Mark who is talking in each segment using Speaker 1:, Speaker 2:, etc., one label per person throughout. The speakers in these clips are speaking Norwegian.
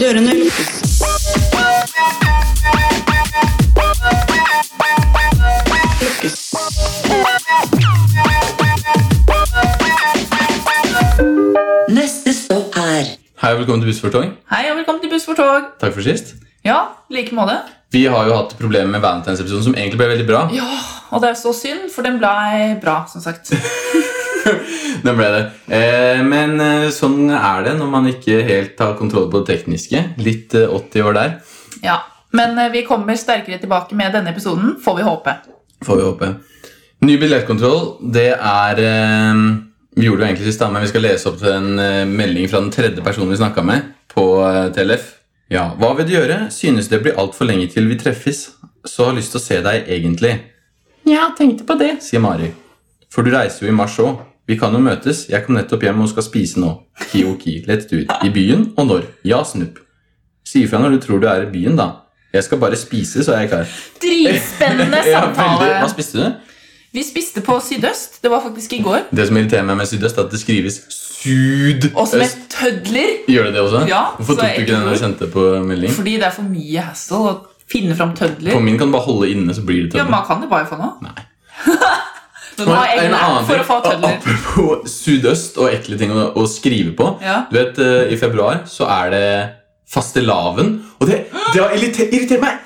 Speaker 1: Dørene lukkes. Lukkes. Neste stopp er
Speaker 2: Hei og velkommen til Bussfortog.
Speaker 3: Hei og velkommen til Buss for tog.
Speaker 2: Takk for sist.
Speaker 3: Ja, i like måte.
Speaker 2: Vi har jo hatt problemer med Valentine's-episoden, som egentlig ble veldig bra.
Speaker 3: Ja, og det er så synd, for den blei bra, som sagt.
Speaker 2: Den ble det. Eh, men eh, sånn er det når man ikke helt har kontroll på det tekniske. Litt eh, 80 år der,
Speaker 3: Ja, Men eh, vi kommer sterkere tilbake med denne episoden, får vi håpe.
Speaker 2: får vi håpe. Ny billettkontroll, det er eh, Vi gjorde det jo egentlig sist, da, men vi skal lese opp en eh, melding fra den tredje personen vi snakka med på eh, TLF. Ja, hva vil du gjøre? Synes det blir altfor lenge til vi treffes. Så har lyst til å se deg egentlig. Ja, tenkte på det, sier Mari. For du reiser jo i mars òg. Vi kan jo møtes. Jeg kom nettopp hjem og skal spise nå. Ki-oki, let's do it. I byen og når. Ja, snupp. Si ifra når du tror du er i byen, da. Jeg skal bare spise, så er jeg klar.
Speaker 3: Dritspennende
Speaker 2: Ja, veldig. Hva
Speaker 3: samtale.
Speaker 2: spiste du?
Speaker 3: Vi spiste på Sydøst. Det var faktisk i går.
Speaker 2: Det som irriterer meg med sydøst, er at det skrives
Speaker 3: Og som
Speaker 2: sudøst.
Speaker 3: et tødler.
Speaker 2: Gjør det det også?
Speaker 3: Ja,
Speaker 2: Hvorfor
Speaker 3: så
Speaker 2: tok
Speaker 3: jeg
Speaker 2: du ikke den
Speaker 3: tror-
Speaker 2: du sendte på melding?
Speaker 3: Fordi det er for mye hassle å finne fram
Speaker 2: På
Speaker 3: tødler.
Speaker 2: min kan du bare holde inne, så blir det
Speaker 3: Ja,
Speaker 2: tødler.
Speaker 3: Man kan det bare få nå.
Speaker 2: Nei.
Speaker 3: Men nå har jeg
Speaker 2: En
Speaker 3: en
Speaker 2: annen
Speaker 3: app for å få
Speaker 2: ting,
Speaker 3: tødler.
Speaker 2: Apropos sydøst og ekle ting å, å skrive på.
Speaker 3: Ja.
Speaker 2: Du vet, eh, I februar så er det fastelavn. Og det, det har irriter- irritert meg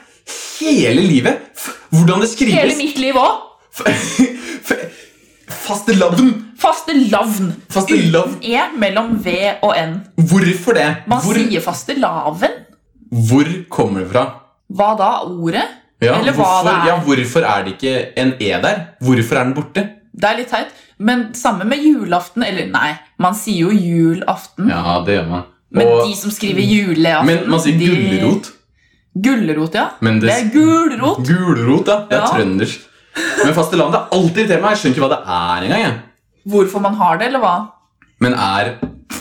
Speaker 2: hele livet! F- Hvordan det
Speaker 3: Hele
Speaker 2: skrives.
Speaker 3: mitt liv òg.
Speaker 2: F- Fastelavn!
Speaker 3: Fastelavn.
Speaker 2: Fastelavn.
Speaker 3: E mellom V og N.
Speaker 2: Hvorfor det?
Speaker 3: Man
Speaker 2: Hvor,
Speaker 3: sier fastelavn.
Speaker 2: hvor kommer det fra?
Speaker 3: Hva da? Ordet?
Speaker 2: Ja,
Speaker 3: Eller hva
Speaker 2: hvorfor,
Speaker 3: det er.
Speaker 2: ja, hvorfor er det ikke en E der? Hvorfor er den borte?
Speaker 3: Det er litt teit. Men samme med julaften. Eller nei, man sier jo julaften.
Speaker 2: Ja, det gjør man.
Speaker 3: Men
Speaker 2: Og-
Speaker 3: de som skriver juleaften
Speaker 2: men man sier
Speaker 3: de-
Speaker 2: gulrot.
Speaker 3: Gulrot, ja.
Speaker 2: Men
Speaker 3: Det
Speaker 2: det,
Speaker 3: er gulrot.
Speaker 2: Gulrot, ja. Det er
Speaker 3: Ja.
Speaker 2: trøndersk. Men fastelavn det er alltid et tema. Jeg skjønner ikke hva det er engang. jeg.
Speaker 3: Hvorfor man har det, eller hva?
Speaker 2: Men er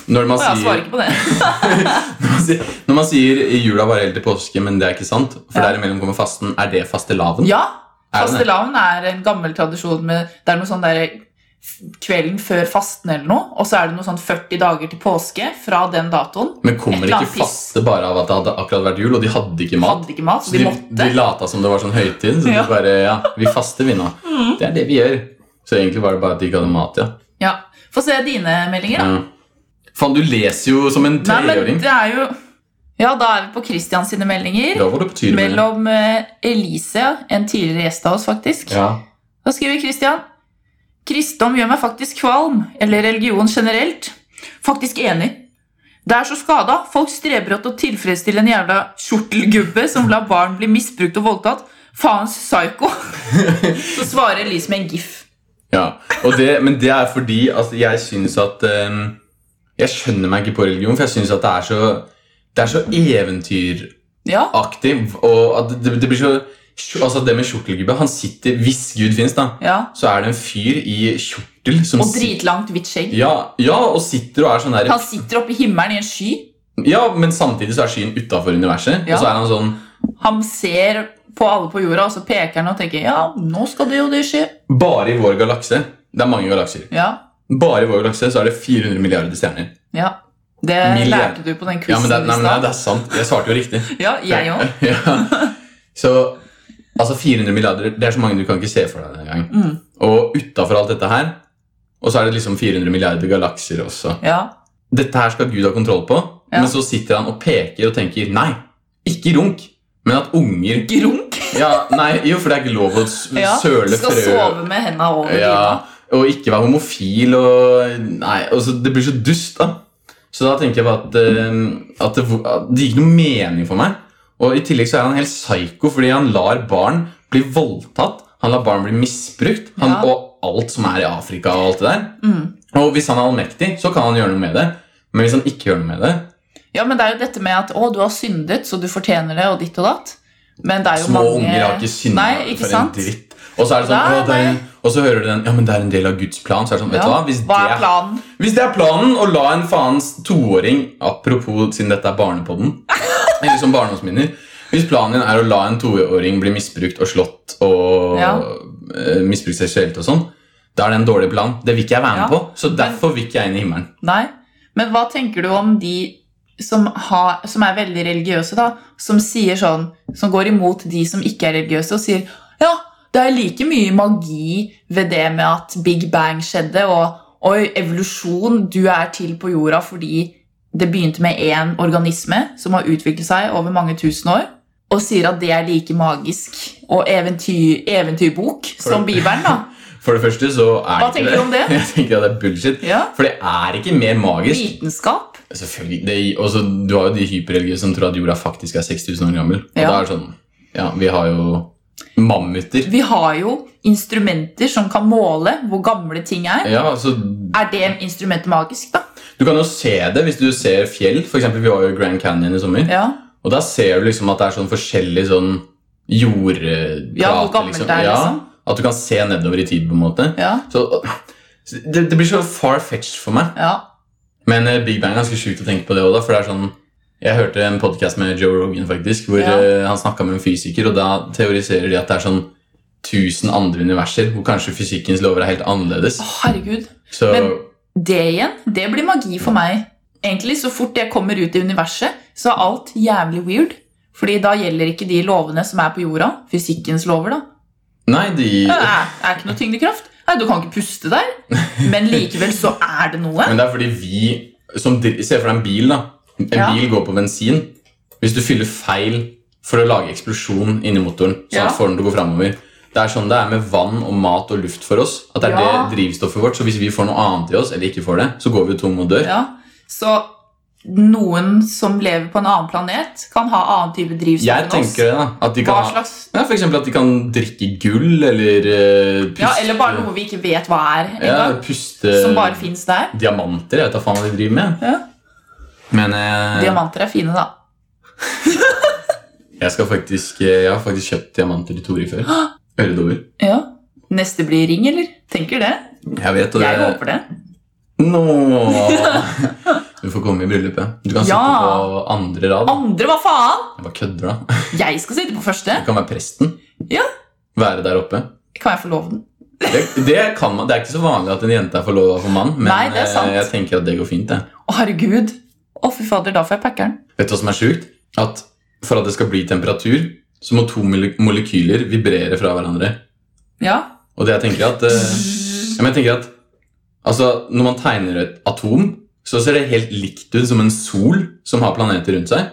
Speaker 2: når man,
Speaker 3: Å, jeg svarer
Speaker 2: sier,
Speaker 3: ikke på det.
Speaker 2: når, man sier, når man sier i jula varer helt til påske, men det er ikke sant, for
Speaker 3: Ja.
Speaker 2: derimellom kommer fasten, er det fastelavn?
Speaker 3: Ja,
Speaker 2: Er det det?
Speaker 3: fastelavn er en gammel tradisjon med Det er noe sånn der f- kvelden før fasten eller noe, og så er det noe sånn 40 dager til påske fra den datoen.
Speaker 2: Men
Speaker 3: Et
Speaker 2: kommer
Speaker 3: eller annet
Speaker 2: ikke faste bare av at det hadde akkurat vært jul, og de hadde ikke mat?
Speaker 3: Hadde ikke mat,
Speaker 2: Så
Speaker 3: så de
Speaker 2: de,
Speaker 3: måtte.
Speaker 2: de lata som det var sånn høytid, så de
Speaker 3: Ja. Mm.
Speaker 2: bare Ja, vi faster, vi nå. Det er det vi gjør. Så egentlig var det bare at de ikke hadde mat, ja.
Speaker 3: Ja. Få se dine meldinger, da.
Speaker 2: ja. Faen, du leser jo som en
Speaker 3: Nei,
Speaker 2: treåring.
Speaker 3: men det er jo Ja, da er vi på Christian sine meldinger.
Speaker 2: Da var det på tide med-
Speaker 3: Mellom eh, Elise, en tidligere gjest av oss, faktisk.
Speaker 2: Ja.
Speaker 3: Da skriver Christian Kristendom gjør meg faktisk kvalm, eller religion generelt. Faktisk enig. Det er så skada. Folk streber etter å tilfredsstille en jævla kjortelgubbe som lar barn bli misbrukt og voldtatt. Faens psyko. Så svarer Elise med en gif.
Speaker 2: ja. Og det, men det er fordi at jeg syns at eh, Jeg skjønner meg ikke på religion, for jeg syns at det er så Det er så eventyraktig,
Speaker 3: Ja,
Speaker 2: og at det, det blir så Altså, det med kjortelgubbe Han sitter Hvis Gud fins, da,
Speaker 3: ja.
Speaker 2: så er det en fyr i kjortel som
Speaker 3: Og
Speaker 2: sit-
Speaker 3: dritlangt hvitt skjegg.
Speaker 2: Ja, ja, og sitter og er sånn der
Speaker 3: Han sitter oppe i himmelen i en sky.
Speaker 2: Ja, men samtidig så er skyen utafor universet.
Speaker 3: Ja.
Speaker 2: Og så er han sånn
Speaker 3: Han ser på alle på jorda, og så peker han og tenker Ja, nå skal det og det skje.
Speaker 2: Bare i vår galakse Det er mange galakser.
Speaker 3: Ja,
Speaker 2: Bare i vår galakse så er det 400 milliarder stjerner.
Speaker 3: ja. Det
Speaker 2: Milliard.
Speaker 3: lærte du på den
Speaker 2: Ja, men
Speaker 3: quizen
Speaker 2: det,
Speaker 3: i
Speaker 2: nei, men nei,
Speaker 3: stad.
Speaker 2: det er sant. Jeg svarte jo riktig.
Speaker 3: Ja, jeg òg.
Speaker 2: ja. Så altså 400 milliarder Det er så mange du kan ikke se for deg engang.
Speaker 3: Mm.
Speaker 2: Og utafor alt dette her Og så er det liksom 400 milliarder galakser også.
Speaker 3: Ja.
Speaker 2: Dette her skal Gud ha kontroll på,
Speaker 3: Ja.
Speaker 2: men så sitter han og peker og tenker Nei, ikke runk, men at unger
Speaker 3: Grunk
Speaker 2: Ja, nei, jo, for det er ikke lov å s-
Speaker 3: ja.
Speaker 2: søle
Speaker 3: skal
Speaker 2: frø
Speaker 3: sove med henda over dyna.
Speaker 2: Ja, og ikke være homofil og Nei, altså, det blir så dust, da. Så da tenker jeg bare at, eh, at, det, at det gir ikke noe mening for meg. Og i tillegg så er han helt psyko fordi han lar barn bli voldtatt. Han lar barn bli misbrukt, han,
Speaker 3: Ja.
Speaker 2: og alt som er i Afrika og alt det der.
Speaker 3: Mm.
Speaker 2: Og hvis han er allmektig, så kan han gjøre noe med det. Men hvis han ikke gjør noe med det,
Speaker 3: Ja, men det er jo dette med at å, du har syndet, så du fortjener det, og ditt og datt. Men det er jo
Speaker 2: Små
Speaker 3: mange
Speaker 2: unger har ikke synda
Speaker 3: Nei, ikke
Speaker 2: for
Speaker 3: sant?
Speaker 2: en dritt. Og så er det sånn,
Speaker 3: Nei,
Speaker 2: «Å, det er en, og så hører du den Ja, men det er en del av Guds plan. Så er det sånn, vet
Speaker 3: Ja.
Speaker 2: du hva? Hvis
Speaker 3: Hva
Speaker 2: det
Speaker 3: er planen?
Speaker 2: Hvis det er planen å la en faens toåring Apropos siden dette er barnepodden Eller som barndomsminner Hvis planen din er å la en toåring bli misbrukt og slått Og
Speaker 3: Ja.
Speaker 2: eh, misbrukt seksuelt og sånn Da er det en dårlig plan Det vil ikke jeg være med
Speaker 3: Ja.
Speaker 2: på Så derfor vil ikke jeg inn i himmelen
Speaker 3: Nei. Men hva tenker du om de som, ha, som er veldig religiøse, da, som sier sånn Som går imot de som ikke er religiøse, og sier Ja, det er like mye magi ved det med at Big Bang skjedde, og oi, evolusjon Du er til på jorda fordi det begynte med én organisme som har utviklet seg over mange tusen år, og sier at det er like magisk og eventyr, eventyrbok som Bibelen, da.
Speaker 2: For det første så er
Speaker 3: Hva
Speaker 2: det
Speaker 3: tenker
Speaker 2: ikke
Speaker 3: du om det?
Speaker 2: Jeg tenker at det er bullshit.
Speaker 3: Ja.
Speaker 2: For det er ikke mer magisk.
Speaker 3: Vitenskap.
Speaker 2: Selvfølgelig. Det, også, du har jo de hyperreligiøse som tror at jorda faktisk er 6000 år gammel. Og
Speaker 3: Ja.
Speaker 2: da er det sånn Ja, vi har jo mammuter.
Speaker 3: Vi har jo instrumenter som kan måle hvor gamle ting er.
Speaker 2: Ja, altså
Speaker 3: Er det instrumentet magisk, da?
Speaker 2: Du kan jo se det hvis du ser fjell. For eksempel, vi var jo i Grand Canyon i sommer.
Speaker 3: Ja.
Speaker 2: Og da ser du liksom at det er sånn forskjellig sånn jordplate.
Speaker 3: Ja, hvor gammelt det er, liksom.
Speaker 2: Ja, at du kan se nedover i tid, på en måte.
Speaker 3: Ja.
Speaker 2: Så så det, det blir så far-fetched for meg.
Speaker 3: ja.
Speaker 2: Men eh, Big Bang er ganske sjukt å tenke på det òg, for det er sånn Jeg hørte en podkast med Joe Rogan, faktisk, hvor
Speaker 3: Ja.
Speaker 2: eh, han snakka med en fysiker, og da teoriserer de at det er sånn 1000 andre universer hvor kanskje fysikkens lover er helt annerledes.
Speaker 3: Å, herregud.
Speaker 2: Så
Speaker 3: men- Det igjen, det blir magi for meg. Egentlig, så fort jeg kommer ut i universet, så er alt jævlig weird. Fordi da gjelder ikke de lovene som er på jorda. Fysikkens lover, da.
Speaker 2: Nei, de
Speaker 3: Det er, er ikke noe tyngdekraft. Nei, du kan ikke puste der. Men likevel så er det noe.
Speaker 2: Men det er fordi vi som, dri- Se for deg en bil, da. En
Speaker 3: Ja.
Speaker 2: bil går på bensin. Hvis du fyller feil for å lage eksplosjon inni motoren, sånn
Speaker 3: Ja.
Speaker 2: at får den til å gå fremover Det er sånn det er med vann og mat og luft for oss. At det er
Speaker 3: Ja.
Speaker 2: det drivstoffet vårt. Så hvis vi får noe annet i oss, eller ikke får det, så går vi jo tom og dør.
Speaker 3: Ja. Så noen som lever på en annen planet, kan ha annen type
Speaker 2: Jeg
Speaker 3: drivstoff enn oss.
Speaker 2: tenker det, da. At de
Speaker 3: Hva
Speaker 2: kan, ha-
Speaker 3: slags
Speaker 2: ja, for eksempel at de kan drikke gull, eller eh, puste
Speaker 3: Ja, eller bare noe vi ikke vet hva
Speaker 2: ja,
Speaker 3: er
Speaker 2: eh,
Speaker 3: engang.
Speaker 2: puste
Speaker 3: som bare fins der.
Speaker 2: Diamanter, jeg vet da faen hva de driver med.
Speaker 3: Ja.
Speaker 2: Men eh,
Speaker 3: Diamanter er fine, da.
Speaker 2: jeg, skal faktisk, eh, jeg har faktisk kjøpt diamanter til Tori før. Øredobber.
Speaker 3: Ja. Neste blir ring, eller? Tenker det.
Speaker 2: Jeg vet, og
Speaker 3: Jeg
Speaker 2: det
Speaker 3: håper det.
Speaker 2: Nå Du får komme i bryllupet. Du kan
Speaker 3: Ja.
Speaker 2: sitte på andre rad.
Speaker 3: Andre, hva faen?
Speaker 2: Jeg bare kødder, da.
Speaker 3: Jeg skal sitte på første.
Speaker 2: Du kan være presten.
Speaker 3: Ja.
Speaker 2: Være der oppe.
Speaker 3: Kan jeg få lov den?
Speaker 2: Det, det, kan man, det er ikke så vanlig at en jente er forlova for mann, men
Speaker 3: Nei, det er sant.
Speaker 2: eh, jeg tenker at det går fint. Det.
Speaker 3: Å, herregud. Å, fy fader, da får jeg packeren.
Speaker 2: Vet du hva som er sjukt? At for at det skal bli temperatur, så må to mole- molekyler vibrere fra hverandre.
Speaker 3: Ja.
Speaker 2: Og det jeg tenker at, eh, ja, men jeg tenker at altså, Når man tegner et atom, så ser det helt likt ut som en sol som har planeter rundt seg.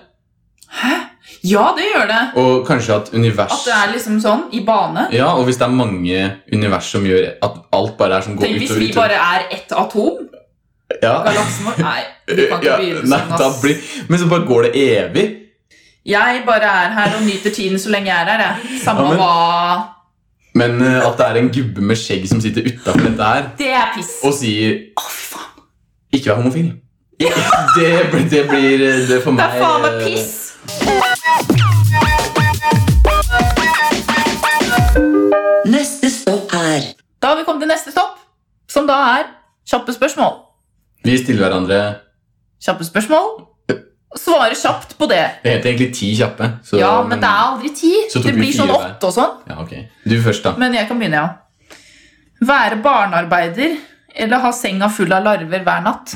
Speaker 3: Ja, det gjør det.
Speaker 2: Og kanskje at univers
Speaker 3: At det er liksom sånn, i bane.
Speaker 2: Ja, og hvis det er mange univers som gjør at alt bare er som går
Speaker 3: Tenk hvis
Speaker 2: utover
Speaker 3: vi bare er ett atom.
Speaker 2: ja.
Speaker 3: Galaksen vår Nei, vi kan ikke
Speaker 2: Ja,
Speaker 3: begynne
Speaker 2: nei,
Speaker 3: sånn,
Speaker 2: da
Speaker 3: ass.
Speaker 2: blir, Men så bare går det evig.
Speaker 3: Jeg bare er her og nyter tiden så lenge jeg er her, jeg. Samme
Speaker 2: Ja, men-
Speaker 3: hva
Speaker 2: Men eh, at det er en gubbe med skjegg som sitter utafor dette her
Speaker 3: Det er piss.
Speaker 2: og sier
Speaker 3: Å, fy faen.
Speaker 2: 'ikke vær homofil'. Det, blir- det blir eh, det for
Speaker 3: Det
Speaker 2: meg
Speaker 3: er faen meg
Speaker 2: eh,
Speaker 3: piss!
Speaker 1: Neste stopp er
Speaker 3: Da har vi kommet til neste stopp, som da er kjappe spørsmål.
Speaker 2: Vi stiller hverandre
Speaker 3: Kjappe spørsmål. Svare kjapt på det.
Speaker 2: Det heter egentlig ti kjappe. Så,
Speaker 3: Ja, men det er aldri ti.
Speaker 2: Så tok
Speaker 3: Det
Speaker 2: vi
Speaker 3: blir sånn
Speaker 2: fire hver.
Speaker 3: åtte og sånn.
Speaker 2: ja, ok. Du først, da.
Speaker 3: Men jeg kan begynne, ja. Være barnearbeider eller ha senga full av larver hver natt.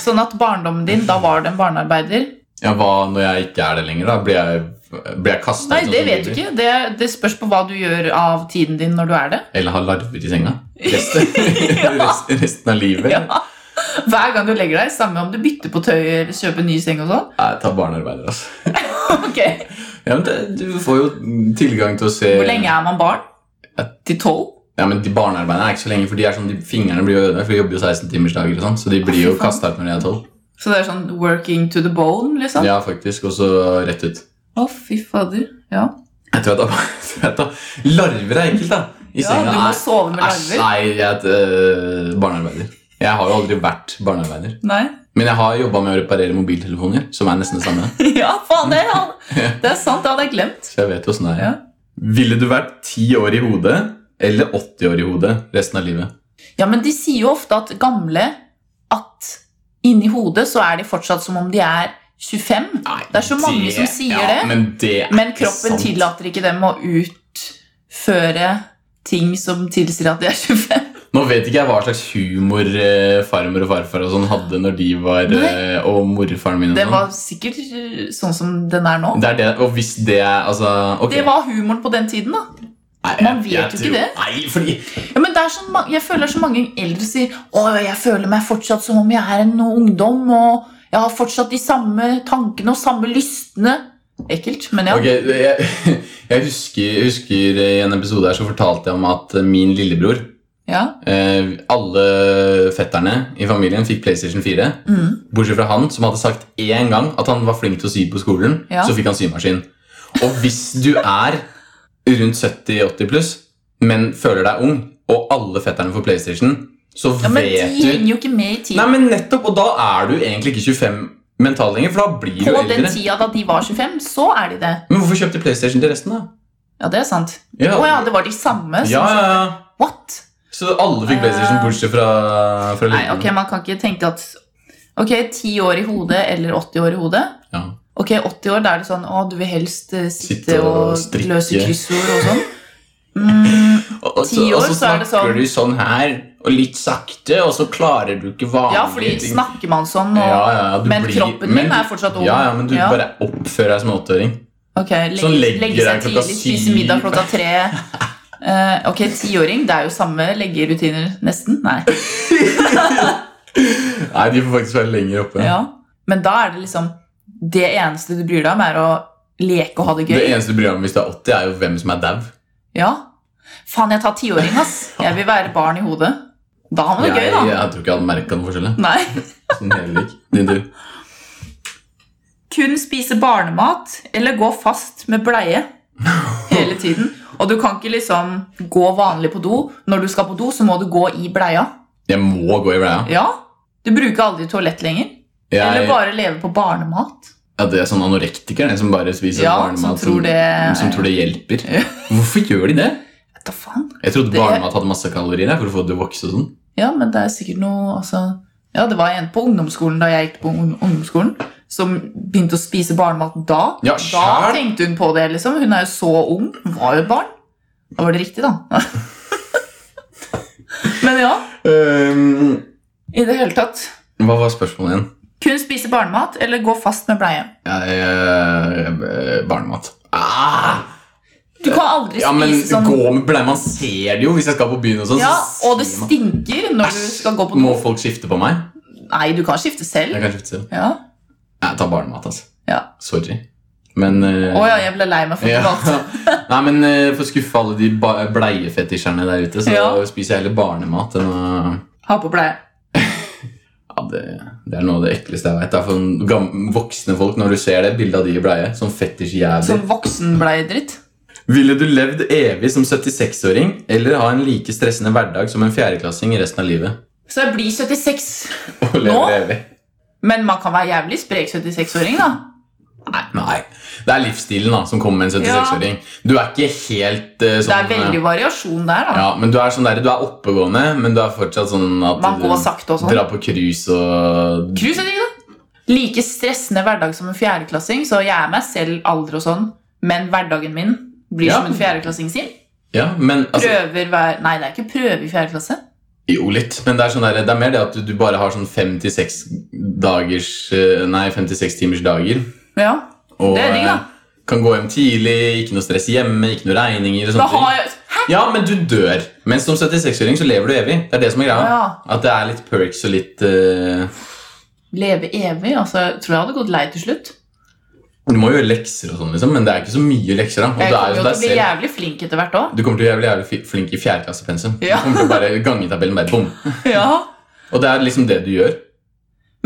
Speaker 3: Sånn at barndommen din, da var du en barnearbeider.
Speaker 2: Ja, hva når jeg ikke er det lenger? da? Blir jeg, sånn blir jeg kasta
Speaker 3: Nei, det vet du ikke. Det, det spørs på hva du gjør av tiden din når du er det.
Speaker 2: Eller har larver i senga? Resten, resten, resten av livet?
Speaker 3: Ja. Hver gang du legger deg, samme om du bytter på tøy eller kjøper ny seng og sånn.
Speaker 2: Jeg tar barnearbeider, altså.
Speaker 3: Ok.
Speaker 2: Ja, men det, du får jo tilgang til å se
Speaker 3: Hvor lenge er man barn?
Speaker 2: Eh.
Speaker 3: Til tolv?
Speaker 2: Ja, men de Barnearbeiderne er ikke så lenge, for de er sånn, de fingrene blir jo ødelagt. For de jobber jo 16-timersdager, og sånn, så de blir jo
Speaker 3: Fy faen.
Speaker 2: kasta ut når de er 12.
Speaker 3: Så det er sånn working to the bone, liksom?
Speaker 2: Ja, faktisk. Og så rett ut.
Speaker 3: Å, fy fader. Ja.
Speaker 2: Jeg tror jeg tar, jeg tar Larver er ekkelt, da. I
Speaker 3: ja, du
Speaker 2: senga.
Speaker 3: må
Speaker 2: Nei,
Speaker 3: sove med
Speaker 2: Æsj,
Speaker 3: larver.
Speaker 2: nei, jeg er et øh, barnearbeider. Jeg har jo aldri vært barnearbeider.
Speaker 3: Nei.
Speaker 2: Men jeg har jobba med å reparere mobiltelefoner, som er nesten det samme.
Speaker 3: Ja, faen, det, er han. det er sant. Det hadde jeg glemt.
Speaker 2: Så jeg vet jo åssen det er.
Speaker 3: Ja.
Speaker 2: Ville du vært 10 år i hodet eller 80 år i hodet resten av livet?
Speaker 3: Ja, men de sier jo ofte at gamle At inni hodet så er de fortsatt som om de er 25.
Speaker 2: Nei,
Speaker 3: Det er så mange som sier
Speaker 2: ja,
Speaker 3: det,
Speaker 2: Men, det er
Speaker 3: Men
Speaker 2: ikke
Speaker 3: kroppen
Speaker 2: sant.
Speaker 3: tillater ikke dem å utføre ting som tilsier at de er 25.
Speaker 2: Nå vet ikke jeg hva slags humor eh, farmor og farfar og sånn hadde når de var eh, Og morfaren min og
Speaker 3: Det
Speaker 2: sånn.
Speaker 3: var sikkert eh, sånn som den er nå.
Speaker 2: Det er det, og hvis det er altså, ok.
Speaker 3: Det var humoren på den tiden, da.
Speaker 2: Nei,
Speaker 3: man
Speaker 2: jeg-
Speaker 3: vet
Speaker 2: jeg
Speaker 3: jo ikke
Speaker 2: tror-
Speaker 3: det.
Speaker 2: Nei, fordi
Speaker 3: Ja, men det er så ma- jeg føler så mange eldre sier Å, jeg føler meg fortsatt som om jeg er en ungdom, og jeg har fortsatt de samme tankene og samme lystne. Ekkelt, men ja.
Speaker 2: Ok, jeg, jeg husker, jeg husker i en episode her så fortalte jeg om at min lillebror
Speaker 3: ja.
Speaker 2: eh, Alle fetterne i familien fikk PlayStation 4.
Speaker 3: Mm.
Speaker 2: Bortsett fra han som hadde sagt én gang at han var flink til å sy på skolen.
Speaker 3: Ja.
Speaker 2: Så fikk han symaskin. Og hvis du er rundt 70-80 pluss, men føler deg ung, og alle fetterne får PlayStation, så
Speaker 3: ja men de
Speaker 2: vet du
Speaker 3: henger jo ikke med i
Speaker 2: Nei,
Speaker 3: tiden.
Speaker 2: men nettopp, og da er du egentlig ikke 25 mentalt lenger, for da blir du
Speaker 3: På den
Speaker 2: eldre.
Speaker 3: tida da de var 25, så er de det.
Speaker 2: Men hvorfor kjøpte PlayStation til resten, da?
Speaker 3: Ja, det er sant.
Speaker 2: Ja,
Speaker 3: Å ja, det var de
Speaker 2: ja,
Speaker 3: samme. som-
Speaker 2: ja, ja.
Speaker 3: What?
Speaker 2: Så alle fikk PlayStation
Speaker 3: Eh.
Speaker 2: bortsett fra, fra
Speaker 3: Nei,
Speaker 2: liten.
Speaker 3: ok, man kan ikke tenke at Ok, 10 år i hodet eller 80 år i hodet.
Speaker 2: Ja.
Speaker 3: Ok, 80 år, da er det sånn Å, du vil helst eh, sitte,
Speaker 2: Sitte og
Speaker 3: og,
Speaker 2: strikke.
Speaker 3: løse kryssord og sånn. Mm,
Speaker 2: Og, og, så,
Speaker 3: Ti år,
Speaker 2: og så
Speaker 3: så er det
Speaker 2: snakker
Speaker 3: sånn-
Speaker 2: du sånn her, og litt sakte, og så klarer du ikke vanlig
Speaker 3: ja, fordi snakker man sånn, og
Speaker 2: ja, ja, ja, du
Speaker 3: Men
Speaker 2: blir-
Speaker 3: kroppen din
Speaker 2: men du-
Speaker 3: er fortsatt ung.
Speaker 2: Ja, ja, men du
Speaker 3: Ja.
Speaker 2: bare oppfører deg som en åtteåring.
Speaker 3: Ok, legge,
Speaker 2: Sånn legger
Speaker 3: legge seg
Speaker 2: deg klokka
Speaker 3: tidlig, spise
Speaker 2: syv.
Speaker 3: middag klokka tre. Eh, ok, tiåring, det er jo samme leggerutiner, nesten. Nei.
Speaker 2: Nei, de får faktisk være lenger oppe.
Speaker 3: Ja. Men da er det liksom Det eneste du bryr deg om, er å leke og ha det
Speaker 2: Det
Speaker 3: gøy.
Speaker 2: eneste du bryr deg om hvis du er 80, er jo hvem som er dau.
Speaker 3: Ja. Faen, jeg tar tiåring, ass. Jeg vil være barn i hodet. Da har man det
Speaker 2: Jeg,
Speaker 3: gøy, da.
Speaker 2: jeg tror ikke jeg hadde merka noen forskjell. jeg.
Speaker 3: Nei.
Speaker 2: Sånn helt lik. Din tur.
Speaker 3: Kun spise barnemat eller gå fast med bleie hele tiden. Og du kan ikke liksom gå vanlig på do. Når du skal på do, så må du gå i bleia.
Speaker 2: Jeg må gå i bleia.
Speaker 3: Ja. Du bruker aldri toalett lenger. Eller
Speaker 2: Jeg,
Speaker 3: bare leve på barnemat.
Speaker 2: ja, det er sånn anorektiker, det, som bare spiser
Speaker 3: Ja, som
Speaker 2: barnemat
Speaker 3: tror det-
Speaker 2: som tror det hjelper.
Speaker 3: Ja.
Speaker 2: Hvorfor gjør de det?
Speaker 3: Vet da faen.
Speaker 2: Jeg trodde
Speaker 3: Det-
Speaker 2: barnemat hadde masse kalorier jeg, for å få det til å vokse og sånn.
Speaker 3: Ja, men det er sikkert noe altså, Ja, det var en på ungdomsskolen da jeg gikk på ung- ungdomsskolen, som begynte å spise barnemat da.
Speaker 2: Ja,
Speaker 3: da
Speaker 2: sjæl!
Speaker 3: tenkte hun på det, liksom. Hun er jo så ung. Hun var jo et barn. Da var det riktig, da. men ja,
Speaker 2: Ehm,
Speaker 3: i det hele tatt.
Speaker 2: hva var spørsmålet igjen?
Speaker 3: Kun spise barnemat eller gå fast med bleie.
Speaker 2: Jeg, eh, barnemat. Ah!
Speaker 3: Du kan aldri
Speaker 2: Ja, men
Speaker 3: spise sånn
Speaker 2: gå med bleie. Man ser det jo hvis jeg skal på byen og sånn.
Speaker 3: Ja,
Speaker 2: så
Speaker 3: og det
Speaker 2: ser man-
Speaker 3: stinker når du
Speaker 2: Æsj,
Speaker 3: skal gå på do.
Speaker 2: Må folk skifte på meg?
Speaker 3: Nei, du kan skifte selv.
Speaker 2: Jeg kan skifte selv.
Speaker 3: Ja.
Speaker 2: Jeg tar barnemat, altså.
Speaker 3: Ja.
Speaker 2: Sorry. Men eh,
Speaker 3: Å ja, jeg ble lei meg for at du valgte.
Speaker 2: ja. Nei, men eh, For å skuffe alle de ba- bleiefetisjerne der ute, så
Speaker 3: Ja.
Speaker 2: spiser jeg heller barnemat enn å
Speaker 3: Ha på bleie.
Speaker 2: ja, det, det er noe av det ekleste jeg veit. For gam- voksne folk, når du ser det bildet av de i bleie, sånn fetisjjævler
Speaker 3: Som voksenbleiedritt.
Speaker 2: Ville du levd evig som 76-åring eller ha en like stressende hverdag som en fjerdeklassing resten av livet?
Speaker 3: Så jeg blir 76.
Speaker 2: Og leve
Speaker 3: Nå?
Speaker 2: evig.
Speaker 3: Men man kan være jævlig sprek 76-åring, da.
Speaker 2: Nei, nei. Det er livsstilen da, som kommer med en 76-åring. Du er ikke helt eh,
Speaker 3: Det
Speaker 2: sånn
Speaker 3: er veldig variasjon der, da.
Speaker 2: ja, men du er, sånn der, du er oppegående, men du er fortsatt sånn at
Speaker 3: Man går
Speaker 2: du
Speaker 3: sakte og sånn.
Speaker 2: drar på cruise og
Speaker 3: Cruise er digg, da. Like stressende hverdag som en fjerdeklassing, så jeg er meg selv alder og sånn, men hverdagen min blir
Speaker 2: Ja.
Speaker 3: som en fjerdeklassing sin.
Speaker 2: Ja, men altså,
Speaker 3: Prøver hver Nei, det er ikke prøve i fjerde klasse.
Speaker 2: Jo, litt. Men det er, sånn der, det er mer det at du, du bare har sånn fem til seks dagers eh, Nei, fem til seks timers dager.
Speaker 3: Ja.
Speaker 2: Og
Speaker 3: Det er digg, da.
Speaker 2: eh, kan gå hjem tidlig, ikke noe stress hjemme, ikke noe regninger. og
Speaker 3: Da
Speaker 2: sånne Sånn ting.
Speaker 3: har jeg Hæ?
Speaker 2: Ja, men du dør. Men som 76-åring så lever du evig. Det er det som er greia.
Speaker 3: Ja.
Speaker 2: At det er litt perks og litt eh,
Speaker 3: Leve evig? Altså, jeg tror jeg hadde gått lei til slutt.
Speaker 2: Du må jo gjøre lekser og sånn, liksom, men det er ikke så mye lekser. da. Og
Speaker 3: Jeg
Speaker 2: du,
Speaker 3: kommer
Speaker 2: er jo
Speaker 3: jo til å
Speaker 2: deg
Speaker 3: bli
Speaker 2: selv.
Speaker 3: jævlig flink etter hvert òg.
Speaker 2: du kommer til å bli jævlig, jævlig fi- flink i fjerdeklassepensum.
Speaker 3: Ja.
Speaker 2: Du kommer til å bare gange tabellen bare bom.
Speaker 3: Ja.
Speaker 2: Og det er liksom det du gjør.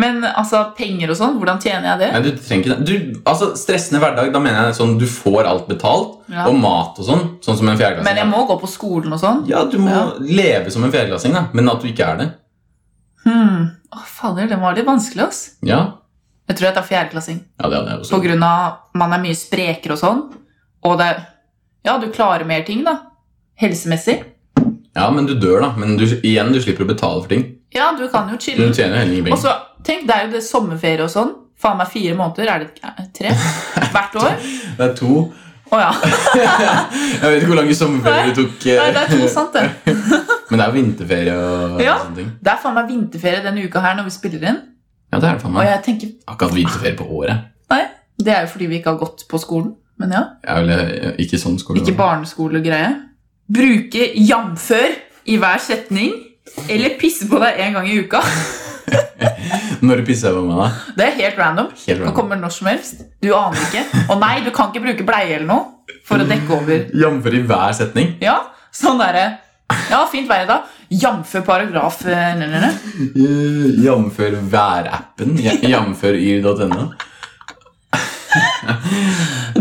Speaker 3: Men altså, penger og sånn, hvordan tjener jeg det?
Speaker 2: Nei, du trenger ikke det. Du, altså, Stressende hverdag, da mener jeg sånn du får alt betalt.
Speaker 3: Ja.
Speaker 2: Og mat og sånn. Sånn som en fjerdeklassing.
Speaker 3: Men jeg må gå på skolen og sånn.
Speaker 2: Ja, du må
Speaker 3: Ja.
Speaker 2: leve som en fjerdeklassing, da. Men at du ikke er det.
Speaker 3: Hmm. Å, fader, den var litt vanskelig, ass.
Speaker 2: Ja,
Speaker 3: Jeg tror jeg tar fjerdeklassing.
Speaker 2: ja det hadde jeg også.
Speaker 3: På grunn av man er mye sprekere og sånn. Og det Ja, du klarer mer ting, da. Helsemessig.
Speaker 2: Ja, men du dør, da. Men du, igjen, du slipper å betale for ting.
Speaker 3: Ja, du kan jo
Speaker 2: Du
Speaker 3: chille.
Speaker 2: tjener jo heller ingen
Speaker 3: Og
Speaker 2: penger.
Speaker 3: så, tenk, det er jo det sommerferie og sånn. Faen meg fire måneder, er det ikke? Eh, tre? Hvert år?
Speaker 2: Det er to.
Speaker 3: Å ja.
Speaker 2: Jeg vet ikke hvor lange sommerferier du tok. eh.
Speaker 3: Nei, det er to, sant det.
Speaker 2: Men det er jo vinterferie og
Speaker 3: Ja.
Speaker 2: sånne ting.
Speaker 3: Det er faen meg vinterferie denne uka her når vi spiller inn.
Speaker 2: Ja, det er det faen
Speaker 3: Og
Speaker 2: meg.
Speaker 3: jeg tenker,
Speaker 2: Jeg har ikke hatt vinterferie på året.
Speaker 3: nei, det er jo fordi vi ikke har gått på skolen. Men ja,
Speaker 2: Jeg er vel eh, ikke sånn skole.
Speaker 3: ikke barneskolegreie. Bruke jamfør i hver setning. Eller pisse på deg en gang i uka.
Speaker 2: Når du pisser på meg, da.
Speaker 3: Det er helt random.
Speaker 2: Helt
Speaker 3: Det kommer når som helst. Du aner ikke. Og nei, du kan ikke bruke bleie eller noe for å dekke over.
Speaker 2: Jamfør i hver setning.
Speaker 3: Ja, sånn derre Ja, fint vær i dag. Jamfør paragraf eh, nø, nø, nø.
Speaker 2: Eh, Jamfør værappen. ja- Jamfør yr.no.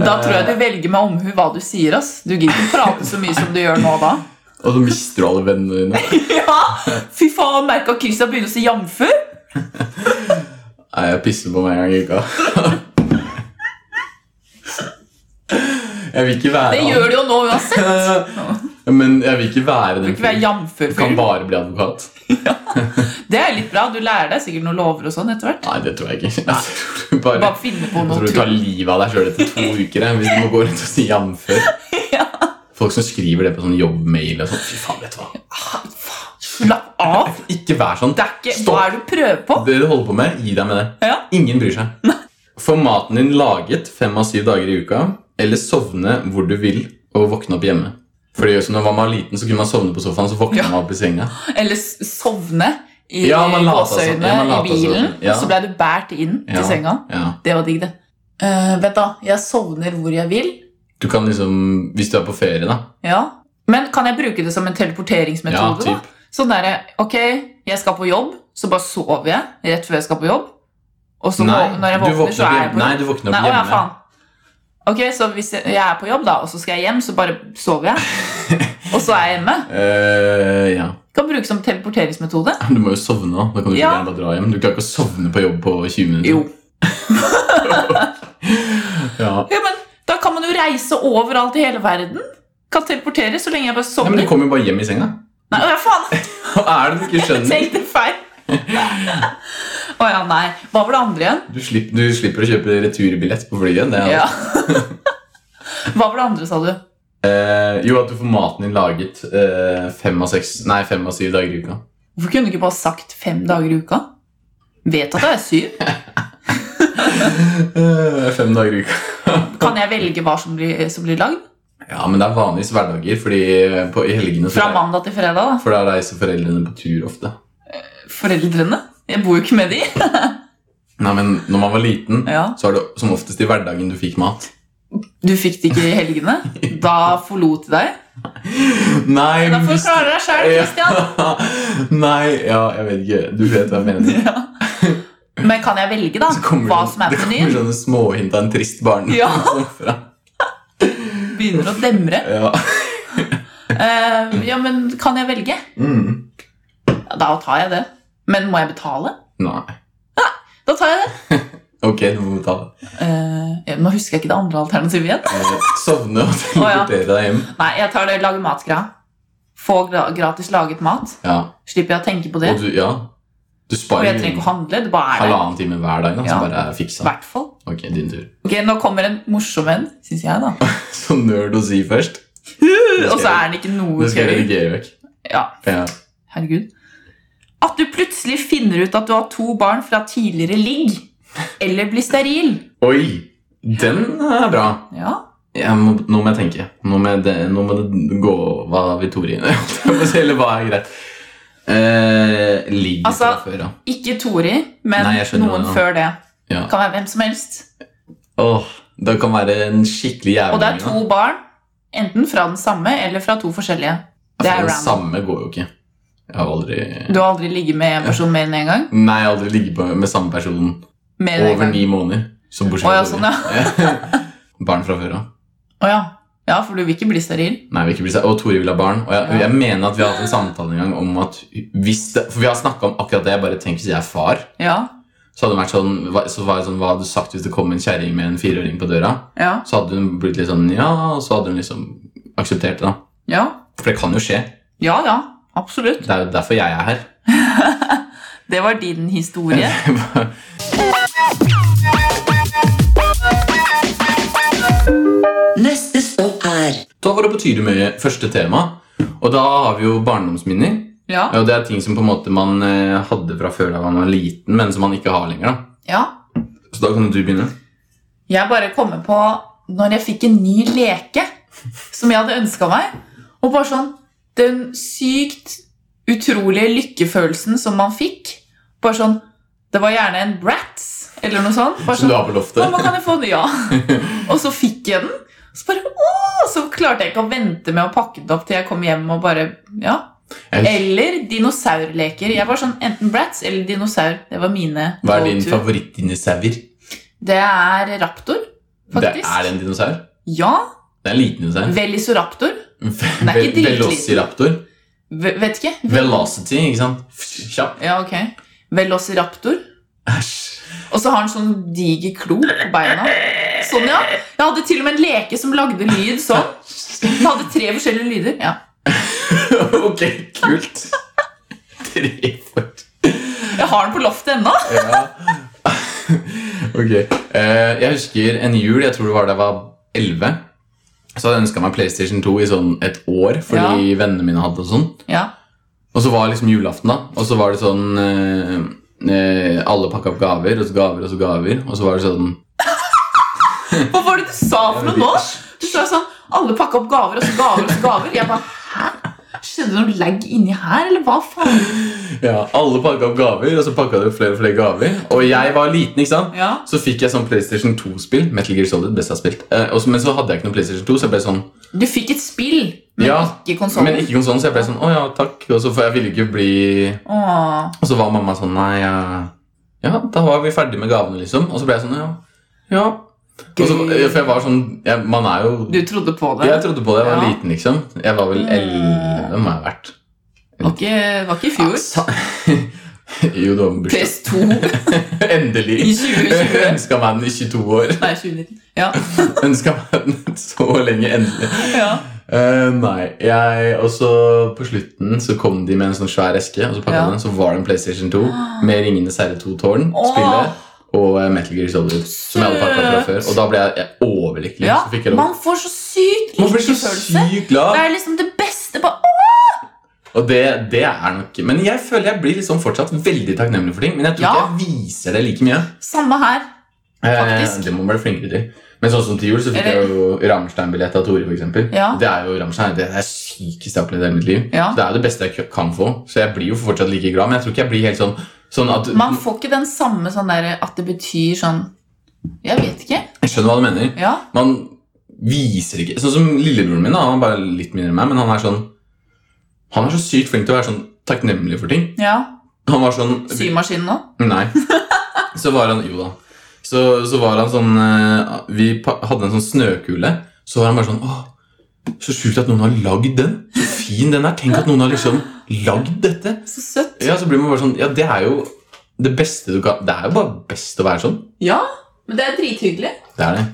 Speaker 3: Da tror jeg du velger med omhu hva du sier, ass. Du gidder ikke prate så mye som du gjør nå da.
Speaker 2: Og så mister du alle vennene dine.
Speaker 3: Ja! Fy faen, merka Christian begynner å si jamfør.
Speaker 2: Nei, jeg pisser på meg en gang i uka. Jeg vil ikke være
Speaker 3: Det gjør du jo nå uansett.
Speaker 2: det. Men jeg vil ikke være
Speaker 3: Du
Speaker 2: den
Speaker 3: kan ikke være
Speaker 2: fyren.
Speaker 3: jamfør
Speaker 2: Du kan
Speaker 3: fyren.
Speaker 2: bare bli advokat.
Speaker 3: Det er litt bra. Du lærer deg sikkert noen lover og sånn etter hvert.
Speaker 2: Nei, det tror jeg ikke. Jeg tror du bare,
Speaker 3: Bare finne på
Speaker 2: jeg
Speaker 3: noe
Speaker 2: tror du tar
Speaker 3: tull.
Speaker 2: livet av deg sjøl etter to uker jeg, hvis du må gå rundt og si jamfør. Folk som skriver det på sånn jobbmail og sånn. Fy faen, vet du hva.
Speaker 3: Slapp av.
Speaker 2: Ikke vær sånn.
Speaker 3: Det er ikke
Speaker 2: Stopp.
Speaker 3: Hva er det du prøver på?
Speaker 2: Det du holder på med, gi deg med det.
Speaker 3: Ja.
Speaker 2: Ingen bryr seg. Få maten din laget fem av syv dager i uka, eller sovne hvor du vil og våkne opp hjemme. Fordi også sånn, når man var liten, så kunne man sovne på sofaen, så våkna
Speaker 3: Ja.
Speaker 2: man opp i senga.
Speaker 3: Eller s- sovne i
Speaker 2: Ja, man lata som.
Speaker 3: gåseøynene
Speaker 2: Ja, man
Speaker 3: i
Speaker 2: lata som.
Speaker 3: bilen,
Speaker 2: Ja.
Speaker 3: og så ble du båret inn
Speaker 2: Ja.
Speaker 3: til senga.
Speaker 2: Ja.
Speaker 3: Det var digg, det. Eh, vent, da. Jeg sovner hvor jeg vil.
Speaker 2: Du kan liksom, Hvis du er på ferie, da.
Speaker 3: Ja. Men kan jeg bruke det som en
Speaker 2: Ja,
Speaker 3: teleporteringsmetode?
Speaker 2: typ.
Speaker 3: da? Sånn derre Ok, jeg skal på jobb, så bare sover jeg rett før jeg skal på jobb. Og så
Speaker 2: Nei,
Speaker 3: vå- når jeg
Speaker 2: du
Speaker 3: våkner, så
Speaker 2: opp
Speaker 3: er jeg
Speaker 2: hjemme.
Speaker 3: på
Speaker 2: Nei,
Speaker 3: jobb.
Speaker 2: du våkner
Speaker 3: Nei,
Speaker 2: opp
Speaker 3: å ja,
Speaker 2: hjemme.
Speaker 3: faen. Ok, så hvis jeg, jeg er på jobb, da, og så skal jeg hjem, så bare sover jeg. og så er jeg hjemme.
Speaker 2: Eh, ja.
Speaker 3: Kan brukes som teleporteringsmetode.
Speaker 2: Du må jo sovne òg. Da kan du ikke
Speaker 3: Ja.
Speaker 2: gjerne bare dra hjem. Du klarer ikke å sovne på jobb på 20 minutter.
Speaker 3: Jo.
Speaker 2: Ja.
Speaker 3: Ja, men da kan man jo reise overalt i hele verden. Kan teleportere så lenge jeg bare
Speaker 2: Nei,
Speaker 3: sovner.
Speaker 2: men du kommer jo bare hjem i senga.
Speaker 3: Nei, å ja, faen!
Speaker 2: Hva er det du ikke
Speaker 3: Jeg
Speaker 2: skjønner?
Speaker 3: tenkte feil. Å ja, nei. Hva var det andre igjen?
Speaker 2: Du slipper, du slipper å kjøpe returbillett på flyet. Det er
Speaker 3: Ja. Hva var det andre, sa du?
Speaker 2: Eh, jo, at du får maten din laget eh, fem, av seks, nei, fem av syv dager i uka.
Speaker 3: Hvorfor kunne du ikke bare sagt fem dager i uka? Vet at det er syv.
Speaker 2: Eh, fem dager i uka.
Speaker 3: Kan jeg velge hva som blir, som blir lagd?
Speaker 2: Ja, men det er vanligvis hverdager, fordi eh, på, i helgene så
Speaker 3: Fra mandag til fredag, da.
Speaker 2: For da reiser foreldrene på tur ofte.
Speaker 3: Foreldrene. Jeg bor jo ikke med de.
Speaker 2: Nei, men når man var liten,
Speaker 3: Ja.
Speaker 2: så er det som oftest i hverdagen du fikk mat.
Speaker 3: Du fikk det ikke i helgene. Da forlot de deg.
Speaker 2: Nei,
Speaker 3: Da
Speaker 2: men
Speaker 3: får du
Speaker 2: hvis-
Speaker 3: klare deg sjæl, Christian.
Speaker 2: Nei, ja, jeg vet ikke. Du vet hva jeg mener.
Speaker 3: Ja. Men kan jeg velge, da?
Speaker 2: Så kommer
Speaker 3: Hva
Speaker 2: det-
Speaker 3: som er
Speaker 2: det
Speaker 3: på
Speaker 2: kommer
Speaker 3: menyen?
Speaker 2: sånne småhint av en trist barn.
Speaker 3: Ja.
Speaker 2: Sånn fra-
Speaker 3: Begynner å demre.
Speaker 2: ja.
Speaker 3: Eh, ja, men kan jeg velge?
Speaker 2: Mm.
Speaker 3: Ja, Da tar jeg det. Men må jeg betale?
Speaker 2: Nei.
Speaker 3: Da tar jeg det.
Speaker 2: Ok, du må ta det.
Speaker 3: Eh, ja, nå husker jeg ikke det andre alternativet igjen.
Speaker 2: Eh, Sovne og
Speaker 3: ja.
Speaker 2: teleportere deg hjem.
Speaker 3: Nei, jeg tar det lage mat-greia. Få gra gratis laget mat.
Speaker 2: Ja.
Speaker 3: Slipper jeg å tenke på det.
Speaker 2: Og du, ja. du
Speaker 3: Og
Speaker 2: sparer
Speaker 3: jeg trenger ikke å handle. Det bare er der.
Speaker 2: halvannen time hver dag. Da,
Speaker 3: Ja.
Speaker 2: Så bare er
Speaker 3: I
Speaker 2: fiksa.
Speaker 3: hvert fall.
Speaker 2: Ok, din tur.
Speaker 3: Ok, Nå kommer en morsom en, syns jeg, da.
Speaker 2: Så nerd å si først.
Speaker 3: Og så er den ikke noe
Speaker 2: Det skal jeg
Speaker 3: gøy.
Speaker 2: redigere vekk.
Speaker 3: Ja,
Speaker 2: Ja.
Speaker 3: herregud. At du plutselig finner ut at du har to barn fra tidligere ligg. Eller blir steril.
Speaker 2: Oi! Den er bra.
Speaker 3: Ja.
Speaker 2: Jeg må, nå må jeg tenke. Nå må, jeg, det- nå må det gå hva Victoria Eller hva er greit? Eh, ligger
Speaker 3: Altså-
Speaker 2: fra før, da.
Speaker 3: Ikke Tori, men
Speaker 2: Nei, jeg skjønner hva
Speaker 3: noen
Speaker 2: det er.
Speaker 3: før det.
Speaker 2: Ja.
Speaker 3: Kan være hvem som helst.
Speaker 2: Åh, det kan være en skikkelig jævling.
Speaker 3: Og det er
Speaker 2: da.
Speaker 3: to barn, enten fra den samme eller fra to forskjellige. Det
Speaker 2: Altså,
Speaker 3: er
Speaker 2: Den
Speaker 3: random.
Speaker 2: samme går jo ikke. Jeg har aldri
Speaker 3: Du har aldri ligget med en person mer enn én gang?
Speaker 2: Nei, jeg har aldri ligget på- med samme person
Speaker 3: Mer enn en
Speaker 2: over
Speaker 3: gang.
Speaker 2: ni måneder. Så bortsett
Speaker 3: Å ja,
Speaker 2: fra
Speaker 3: sånn,
Speaker 2: Tori. Barn fra før av.
Speaker 3: Å ja. ja, for du vil ikke bli steril?
Speaker 2: Nei, vi vil ikke bli seg. Og Tore vil ha barn. Og jeg,
Speaker 3: Ja.
Speaker 2: jeg mener at vi har hatt en samtale en gang om at hvis det, For vi har snakka om akkurat det. Jeg bare tenker hvis jeg er far,
Speaker 3: Ja.
Speaker 2: så hadde det vært sånn, hva- så var det sånn Hva hadde du sagt hvis det kom en kjerring med en fireåring på døra?
Speaker 3: Ja.
Speaker 2: Så hadde hun blitt litt sånn ja, og så hadde hun liksom akseptert det, da.
Speaker 3: Ja,
Speaker 2: For det kan jo skje.
Speaker 3: ja. ja. Absolutt.
Speaker 2: Det er jo derfor jeg er her.
Speaker 3: Det var din historie.
Speaker 1: Neste stopp er
Speaker 2: Tover var det på Tyrumøye første tema. Og da har vi jo barndomsminner.
Speaker 3: Ja.
Speaker 2: Ja, og det er ting som på en måte man eh, hadde fra før da man var liten, men som man ikke har lenger. da.
Speaker 3: ja.
Speaker 2: Så da kan jo du begynne.
Speaker 3: Jeg bare kommer på når jeg fikk en ny leke som jeg hadde ønska meg. Og bare sånn Den sykt utrolige lykkefølelsen som man fikk. Bare sånn Det var gjerne en Bratz eller noe sånt. Bare
Speaker 2: Som
Speaker 3: sånn,
Speaker 2: du har på
Speaker 3: «Å,
Speaker 2: loftet.
Speaker 3: nå kan jeg få den, ja. Og så fikk jeg den. Så bare, åh, så klarte jeg ikke å vente med å pakke den opp til jeg kom hjem og bare Ja.
Speaker 2: Jeg-
Speaker 3: Eller dinosaurleker. Jeg var sånn enten Bratz eller dinosaur. Det var mine
Speaker 2: Hva er din
Speaker 3: go-to.
Speaker 2: favorittdinosaur?
Speaker 3: Det er raptor,
Speaker 2: Det
Speaker 3: faktisk.
Speaker 2: er en dinosaur.
Speaker 3: Ja.
Speaker 2: Det er en liten dinosaur.
Speaker 3: Velisoraptor.
Speaker 2: Ve-
Speaker 3: ikke dritliten.
Speaker 2: Velociraptor.
Speaker 3: Ve- vet ikke.
Speaker 2: Velocity, ikke sant? F- Kjapp.
Speaker 3: Ja, ok. Velociraptor.
Speaker 2: Æsj.
Speaker 3: Og så har han sånn diger klo på beina. Sånn, ja. Jeg hadde til og med en leke som lagde lyd sånn. Den hadde tre forskjellige lyder. Ja.
Speaker 2: ok, kult. Tre fort.
Speaker 3: Jeg har den på loftet ennå.
Speaker 2: Ja. ok. Eh, jeg husker en jul, jeg tror det var da jeg var 11. Så hadde jeg ønska meg PlayStation 2 i sånn et år fordi vennene mine hadde og sånn.
Speaker 3: Ja.
Speaker 2: Og så var liksom julaften, da. Og så var det sånn eh, eh, Alle pakka opp gaver, og så gaver, og så gaver. Og så var det sånn
Speaker 3: Hva var det du sa for noe nå? Du sa sånn Alle pakka opp gaver, og så gaver, og så gaver. Jeg bare Hæ? Skjedde det noe lag inni her, eller hva faen?
Speaker 2: Ja, Alle pakka opp gaver, og så pakka de opp flere og flere gaver. Og jeg var liten, ikke sant?
Speaker 3: Ja.
Speaker 2: Så fikk jeg sånn PlayStation 2-spill. Metal Gear Solid, best jeg har spilt. Eh, og så- men så hadde jeg ikke noe PlayStation 2, så jeg ble sånn
Speaker 3: Du fikk et spill, men
Speaker 2: Ja,
Speaker 3: ikke
Speaker 2: Men
Speaker 3: konsollen.
Speaker 2: ikke konsollen, så jeg ble sånn Å ja, takk. Og så for jeg ville ikke bli
Speaker 3: Åh.
Speaker 2: Og så var mamma sånn Nei, ja, ja da var vi ferdig med gavene, liksom. Og så ble jeg sånn Ja. ja. Og så,
Speaker 3: Gøy.
Speaker 2: for jeg var sånn jeg, Man er jo
Speaker 3: Du trodde på det?
Speaker 2: Jeg trodde på det, jeg var
Speaker 3: Ja.
Speaker 2: liten, liksom. Jeg var vel
Speaker 3: Mm.
Speaker 2: elleve, må jeg ha vært.
Speaker 3: Var ikke, var ikke i
Speaker 2: Ja,
Speaker 3: fjor?
Speaker 2: sa- jo, det var min bursdag.
Speaker 3: PS2
Speaker 2: Endelig.
Speaker 3: i 2020.
Speaker 2: Ønska meg den i 22 år.
Speaker 3: Nei, 2019. Ja.
Speaker 2: Ønska meg den så lenge, endelig.
Speaker 3: ja.
Speaker 2: Eh, nei, jeg Og så på slutten så kom de med en sånn svær eske, og så pakka
Speaker 3: Ja.
Speaker 2: den, så var det en PlayStation 2 med Ringenes herre 2-tårn,
Speaker 3: Åh.
Speaker 2: spillet, og eh, Metal Gear Solid, som jeg hadde pakka fra
Speaker 3: Søt.
Speaker 2: før. Og da ble jeg, jeg overlykkelig.
Speaker 3: ja.
Speaker 2: så fikk jeg lov.
Speaker 3: Man får så sykt
Speaker 2: Man blir så
Speaker 3: lykkefølelse.
Speaker 2: sykt
Speaker 3: Det
Speaker 2: glad.
Speaker 3: er liksom det beste på Åh!
Speaker 2: Og det, det er nok Men jeg føler jeg blir liksom fortsatt veldig takknemlig for ting. Men jeg tror
Speaker 3: Ja.
Speaker 2: ikke jeg viser det like mye.
Speaker 3: Samme her.
Speaker 2: Eh,
Speaker 3: Faktisk.
Speaker 2: det må man bli flinkere til. Men sånn som til jul så fikk
Speaker 3: Eller-
Speaker 2: jeg jo Rammstein-billett av Tore. For eksempel.
Speaker 3: Ja.
Speaker 2: Det er jo Rammstein, det er det sykeste jeg har opplevd i hele mitt liv.
Speaker 3: Ja.
Speaker 2: Så Det er jo det beste jeg kan få. Så jeg blir jo fortsatt like glad, men jeg tror ikke jeg blir helt sånn Sånn at
Speaker 3: Man får ikke den samme sånn der at det betyr sånn Jeg vet ikke.
Speaker 2: Jeg skjønner hva du mener.
Speaker 3: Ja.
Speaker 2: Man viser ikke Sånn som lillebroren min, da, han er bare litt mindre enn meg, men han er sånn Han er så sykt flink til å være sånn takknemlig for ting.
Speaker 3: ja.
Speaker 2: Han var sånn
Speaker 3: Symaskinen nå?
Speaker 2: Nei. Så var han Jo da. Så, så var han sånn eh, Vi pa- hadde en sånn snøkule. Så var han bare sånn Åh, så sjukt at noen har lagd den. Så fin den er. Tenk at noen har liksom lagd dette.
Speaker 3: Så søtt.
Speaker 2: Ja, så blir man bare sånn Ja, det er jo det beste du kan Det er jo bare best å være sånn.
Speaker 3: Ja. Men det er drithyggelig.
Speaker 2: Det er det.